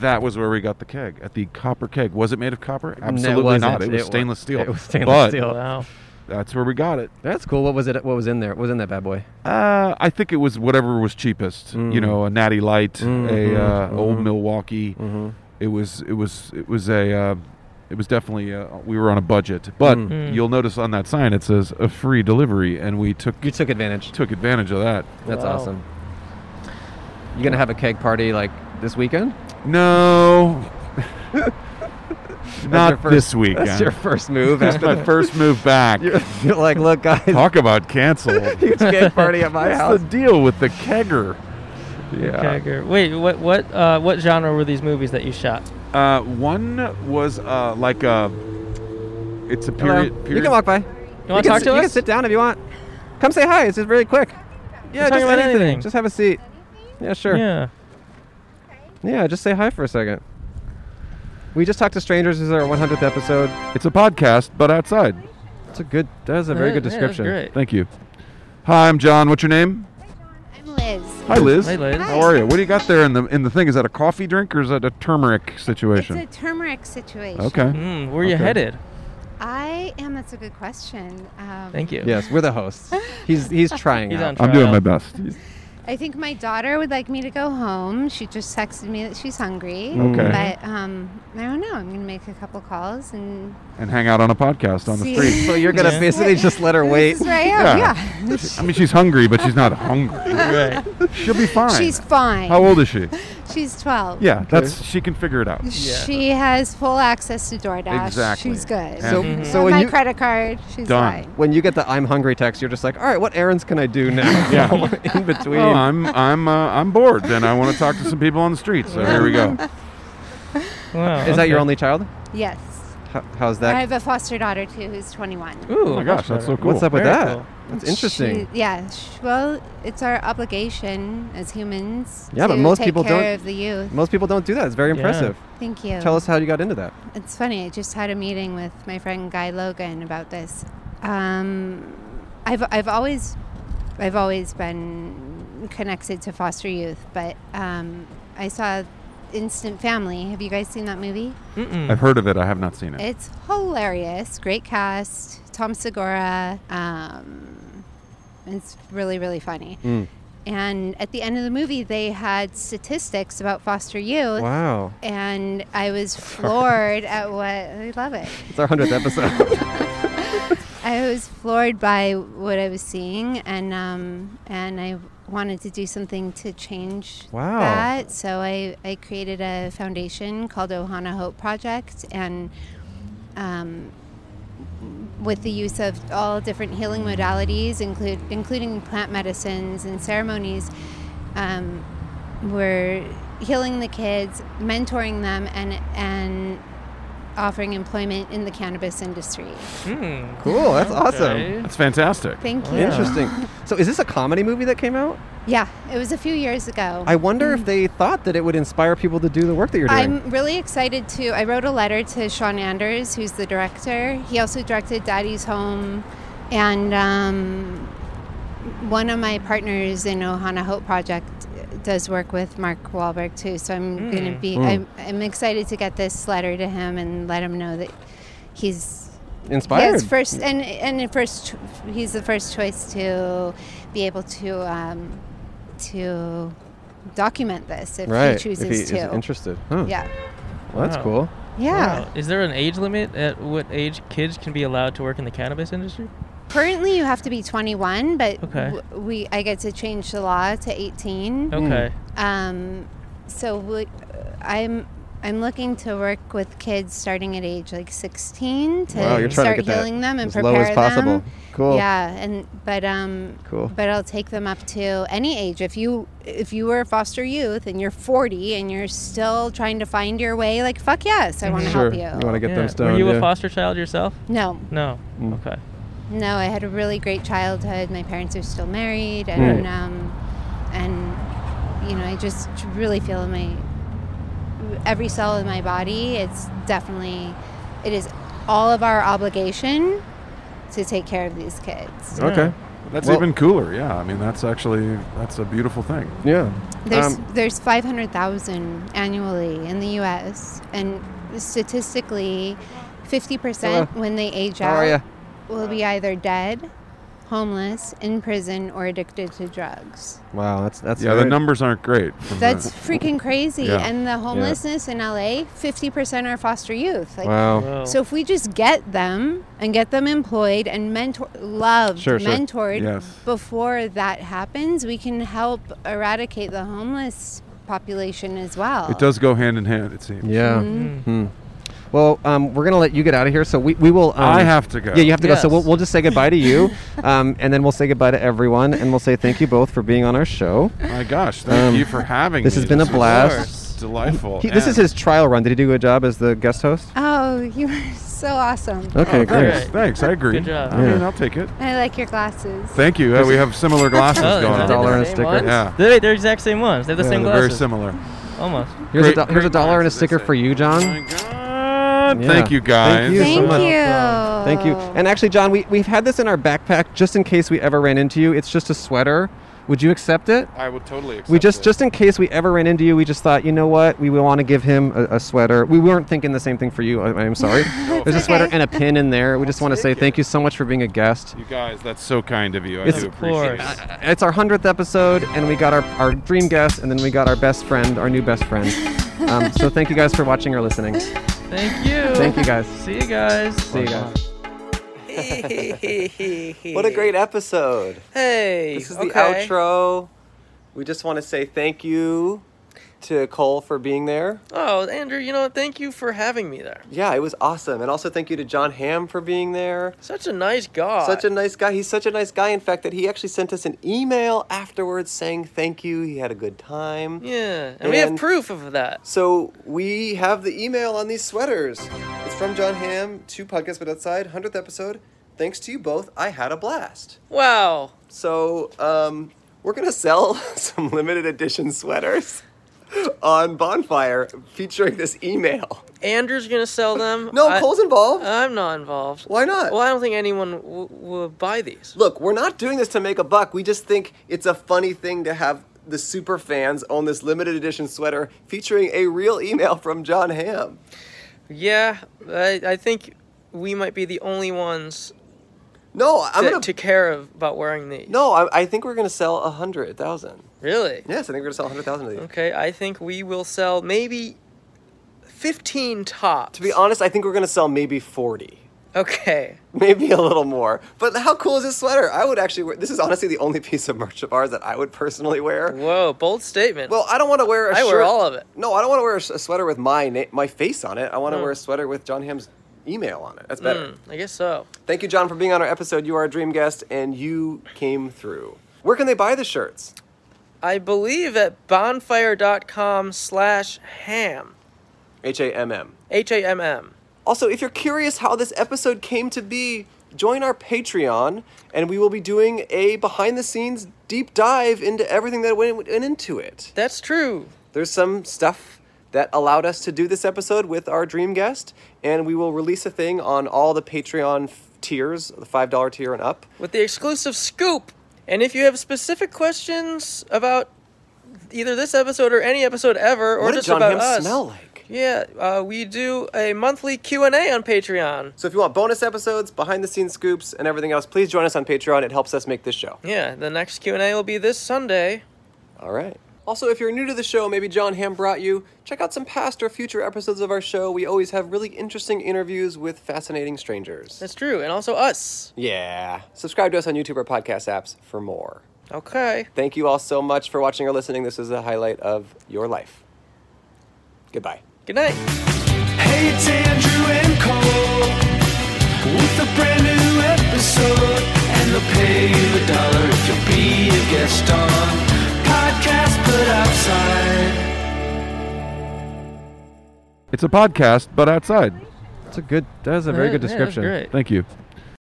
S5: That was where we got the keg at the Copper Keg. Was it made of copper?
S4: it
S5: Absolutely not.
S4: wasn't. It
S5: It was
S4: wa-
S5: stainless steel.
S4: it was stainless
S5: But
S4: steel.
S1: Wow.
S5: That's where we got it.
S4: That's cool. What was it? What was in there? What was in that bad boy?
S5: Uh, I think it was whatever was cheapest.
S4: Mm.
S5: You know, a Natty
S4: Mm-hmm.
S5: Light, a uh, Old Milwaukee. It was it was it was a uh, It was definitely uh, we were on a budget, but
S4: Mm.
S5: you'll notice on that sign it says a free delivery, and we took
S4: You took advantage.
S5: took advantage of that.
S4: That's
S1: Wow.
S4: awesome. You gonna have a keg party like this weekend?
S1: Uh-huh.
S4: your
S5: No, not
S4: first-
S5: this weekend.
S4: That's your first move.
S5: That's
S4: After
S5: my first move back.
S4: you're like, look, guys,
S5: Talk about canceled.
S4: huge keg party at my
S5: What's
S4: house.
S5: the deal with the kegger?
S4: Uh,
S5: Yeah.
S1: Kegger. Wait, what what uh, what genre were these movies that you shot?
S5: Uh, one was uh, like a. It's a
S4: Hello.
S5: period. period
S4: You can walk by. You
S1: You want to
S4: can
S1: talk
S4: sit-
S1: to
S4: You can
S1: us?
S4: sit down if you want. Come say hi. It's just really quick. Yeah,
S1: We're talking
S4: just
S1: about
S4: anything.
S1: anything.
S4: Just have a seat. Yeah, sure.
S1: Yeah.
S4: Yeah, just say hi for a second. We just talked to strangers. This is our 100th episode.
S5: It's a podcast, but outside.
S4: That's a good. That is a very
S1: Yeah,
S4: good
S1: yeah, that's
S4: description.
S1: great.
S5: Thank you. Hi, I'm John. What's your name?
S11: I'm Liz.
S5: Hi, Liz.
S1: Hey, Liz.
S5: How are you? What do you got there in the in the thing? Is that a coffee drink or is that a turmeric
S11: It's
S5: situation?
S11: a turmeric situation.
S5: okay.
S1: Mm, where you
S5: Okay.
S1: headed?
S11: I am. That's a good question. Um,
S1: Thank you.
S4: Yes, we're the hosts. He's he's trying
S1: He's
S4: out.
S1: on
S5: I'm doing
S1: trial.
S5: my best.
S11: I think my daughter would like me to go home. She just texted me that she's hungry.
S5: Okay.
S11: But um, I don't know. I'm gonna make a couple calls and
S5: And hang out on a podcast on the
S11: See.
S5: street.
S4: So you're gonna
S1: Yeah.
S4: basically just let her wait.
S11: This is where I am.
S5: Yeah.
S11: Yeah.
S5: I mean, she's hungry, but she's not hungry.
S1: Right.
S5: She'll be fine.
S11: She's fine.
S5: How old is she?
S11: She's 12.
S5: Yeah, that's she can figure it out.
S11: She has full access to DoorDash.
S5: Exactly.
S11: She's good.
S5: So-
S11: And
S4: so when
S11: my
S4: you-
S11: credit card. She's
S5: Done.
S11: fine.
S4: When you get the I'm hungry text, you're just like, all right, what errands can I do now?
S5: Yeah.
S4: In between.
S5: Well, Oh,
S1: Oh,
S5: I'm I'm uh, I'm bored, and I want to talk to some people on the street. So here we go.
S1: Wow.
S4: Is that your only child?
S11: Yes.
S4: How, how's
S11: I
S4: that?
S11: have a foster daughter too, who's 21.
S1: Ooh,
S5: Oh my gosh, that's so cool.
S4: What's up with
S1: Very
S4: that?
S1: cool.
S4: That's interesting.
S11: She- yeah. sh- Well, it's our obligation as humans.
S4: Yeah, but
S11: to
S4: most
S11: take
S4: people
S11: care
S4: don't-
S11: of the youth.
S4: Most people don't do that. It's very
S1: Yeah.
S4: impressive.
S11: Thank you.
S4: Tell us how you got into that.
S11: It's funny. I just had a meeting with my friend Guy Logan about this. Um, I've I've always I've always been connected to foster youth, but um, I saw Instant Family. Have you guys seen that movie?
S5: I've heard of it. I have not seen it.
S11: It's hilarious. Great cast. Tom Segura. Um, it's really, really funny. And at the end of the movie, they had statistics about foster youth.
S4: Wow.
S11: And I was floored at what I love it.
S4: It's our 100th episode.
S11: I was floored by what I was seeing, and um, and I wanted to do something to change
S4: Wow.
S11: that. So I, I created a foundation called Ohana Hope Project, and um, with the use of all different healing modalities, include including plant medicines and ceremonies, um, we're healing the kids, mentoring them, and and offering employment in the cannabis industry.
S1: Mm,
S4: cool. That's awesome.
S1: okay.
S5: That's fantastic.
S11: Thank you.
S4: Interesting. So, is this a comedy movie that came out?
S11: Yeah, it was a few years ago.
S4: I wonder
S11: Mm.
S4: if they thought that it would inspire people to do the work that you're doing.
S11: am really excited to. I wrote a letter to Sean Anders, who's the director. He also directed Daddy's Home, and um, one of my partners in Ohana Hope Project does work with Mark Wahlberg too. So I'm going to be. I'm, I'm excited to get this letter to him and let him know that he's
S4: Inspired.
S11: His first and and the first, cho- he's the first choice to be able to um, to document this if
S4: right.
S11: he chooses
S4: if he
S11: to.
S4: is interested. Huh.
S11: Yeah,
S4: Well, that's
S1: Wow.
S4: cool.
S11: yeah.
S1: Wow. Is there an age limit at what age kids can be allowed to work in the cannabis industry?
S11: Currently, you have to be 21, but
S1: Okay.
S11: w- we I get to change the law to 18.
S1: Okay.
S11: Um, so we, I'm I'm looking to work with kids starting at age like 16 to
S4: Wow, you're trying to
S11: start
S4: get that
S11: healing them and
S4: as
S11: prepare
S4: low as possible.
S11: them.
S4: Cool.
S11: Yeah, and but um,
S4: Cool.
S11: But I'll take them up to any age. If you if you were a foster youth and you're 40 and you're still trying to find your way, like fuck yes, I want to
S4: Mm-hmm. Sure.
S11: help you.
S4: want to get them stoned.
S1: Were you
S4: yeah.
S1: a foster child yourself?
S11: No,
S1: No. Okay.
S11: no, I had a really great childhood. My parents are still married, and
S4: Mm.
S11: um, and you know, I just really feel in my every cell in my body. It's definitely, it is all of our obligation to take care of these kids.
S4: Okay.
S5: That's
S4: Well-
S5: even cooler. Yeah, I mean that's actually that's a beautiful thing.
S4: Yeah.
S11: There's
S4: Um,
S11: there's 500,000 annually in the U.S. and statistically, 50%
S4: Hello.
S11: when they age
S4: How are
S11: out
S4: ya?
S11: will be either dead homeless, in prison, or addicted to drugs.
S4: Wow, that's that's
S5: yeah. The
S4: very-
S5: numbers aren't great. from
S11: That's
S5: that.
S11: freaking crazy.
S5: Yeah.
S11: And the
S5: Yeah.
S11: homelessness in LA, 50% are foster youth. Like,
S5: Wow.
S3: hmm.
S5: Wow.
S11: So if we just get them and get them employed and mentor, loved,
S5: Sure, sure.
S11: mentored
S5: Yes.
S11: before that happens, we can help eradicate the homeless population as well.
S5: It does go hand in hand. It seems.
S4: Yeah.
S11: Mhm.
S4: Hmm. Well, um, we're gonna let you get out of here, so we, we will. Um,
S5: I have to go.
S4: Yeah, you have to go. So
S5: Yes.
S4: we'll, we'll just say goodbye to you, um, and then we'll say goodbye to everyone, and we'll say thank you both for being on our show.
S5: My gosh, thank
S4: Um,
S5: you for having
S4: This
S5: me.
S4: has been a
S5: was
S4: blast.
S5: Delightful.
S4: He- this is
S5: And-
S4: his trial run. Did he do a good job as the guest host?
S11: Oh, you are so awesome.
S4: Okay,
S5: Oh,
S4: great.
S5: thanks. Thanks, I agree.
S4: Good job.
S5: I mean,
S4: Yeah.
S5: I'll take it.
S11: I like your glasses.
S5: Thank you. Uh, we have similar glasses
S3: Oh,
S5: going
S3: they're
S5: on.
S3: the same ones?
S5: Yeah.
S3: They're, they're exact same ones. They're the
S5: Yeah,
S3: same
S5: they're very
S3: glasses.
S5: similar.
S3: Almost.
S4: Here's, a, do- here's a dollar and a sticker for you, John. Yeah.
S5: Oh Thank you guys.
S4: Thank you.
S11: Thank
S4: so much.
S11: you.
S4: Thank you. And actually, John, we, we've had this in our backpack just in case we ever ran into you. It's just a sweater. Would you accept it?
S5: I would totally accept
S4: we just
S5: it.
S4: just in case we ever ran into you, we just thought, you know what, we want to give him a, a sweater. We weren't thinking the same thing for you. I, I'm sorry. There's a sweater and a pin in there. We just want to say thank you so much for being a guest.
S5: You guys, that's so kind of you. I
S4: It's-
S5: do
S4: Of
S5: appreciate
S4: course.
S5: it.
S4: It's our hundredth episode, and we got our, our dream guest, and then we got our best friend, our new best friend. Um, so thank you guys for watching or listening.
S3: Thank you.
S4: Thank you guys.
S3: See you guys.
S4: See you guys.
S12: what
S4: What a great episode.
S12: Hey,
S4: This is the
S12: okay.
S4: outro. We just want to say thank you to Cole for being there.
S3: Oh, Andrew, you know, thank you for having me there.
S4: Yeah, it was awesome. And also thank you to John Hamm for being there.
S3: Such a nice guy.
S4: Such a nice guy. He's such a nice guy, in fact, that he actually sent us an email afterwards saying thank you. He had a good time.
S3: Yeah, and, we have
S4: And-
S3: proof of that.
S4: So we have the email on these sweaters. It's from John Hamm to Podcast But Outside, 100th episode. Thanks to you both, I had a blast.
S3: Wow.
S4: So um, we're going to sell some limited edition sweaters on Bonfire featuring this email.
S3: Andrew's gonna sell them.
S4: No, Cole's involved.
S3: I'm not involved.
S4: Oh. Why not?
S3: Well, I don't think anyone w- will buy these.
S4: Look, we're not doing this to make a buck. We just think it's a funny thing to have the super fans own this limited edition sweater featuring a real email from John Hamm.
S3: Yeah, I, I think we might be the only ones.
S4: No, I'm
S3: to,
S4: gonna-
S3: to care of, about wearing these.
S4: No, I, I think we're going to sell 100,000.
S3: Really?
S4: Yes, I think we're going to sell 100,000 of these.
S3: Okay, I think we will sell maybe fifteen tops.
S4: To be honest, I think we're going to sell maybe 40.
S3: Okay.
S4: Maybe a little more. But how cool is this sweater? I would actually wear this is honestly the only piece of merch of ours that I would personally wear.
S3: Whoa, bold statement.
S4: Well, I don't want to wear a
S3: I
S4: shirt.
S3: wear all of it.
S4: No, I don't want to wear a s- a sweater with my na- my face on it. I want to
S3: Mm.
S4: wear a sweater with John Hamm's email on it. That's better.
S3: Mm, I guess so.
S4: Thank you, John, for being on our episode. You are a dream guest, and you came through. Where can they buy the shirts?
S3: I believe at bonfire.com slash ham.
S4: H A M M.
S3: H A M M.
S4: Also, if you're curious how this episode came to be, join our Patreon, and we will be doing a behind the scenes deep dive into everything that went, went into it.
S3: That's true.
S4: There's some stuff that allowed us to do this episode with our dream guest, and we will release a thing on all the Patreon f- tiers, the $5 tier and up.
S3: With the exclusive scoop. And if you have specific questions about either this episode or any episode ever, or
S4: What did
S3: just
S4: John
S3: about
S4: Hamm
S3: us,
S4: smell like?
S3: yeah, uh, we do a monthly Q and A on Patreon.
S4: So if you want bonus episodes, behind the scenes scoops, and everything else, please join us on Patreon. It helps us make this show.
S3: Yeah, the next Q and A will be this Sunday.
S4: All right. Also, if you're new to the show, maybe John Hamm brought you, check out some past or future episodes of our show. We always have really interesting interviews with fascinating strangers.
S3: That's true, and also us.
S4: Yeah. Subscribe to us on YouTube or podcast apps for more.
S3: Okay.
S4: Thank you all so much for watching or listening. This is a highlight of your life. Goodbye.
S3: Good night.
S12: Hey, it's Andrew and Cole with a brand new episode, and they'll pay you a dollar if you'll be a guest on podcast, but outside.
S5: It's a podcast, but outside.
S13: That's a good. That was a
S5: Yeah,
S13: very good
S5: yeah, that's
S13: description.
S5: great. Thank you.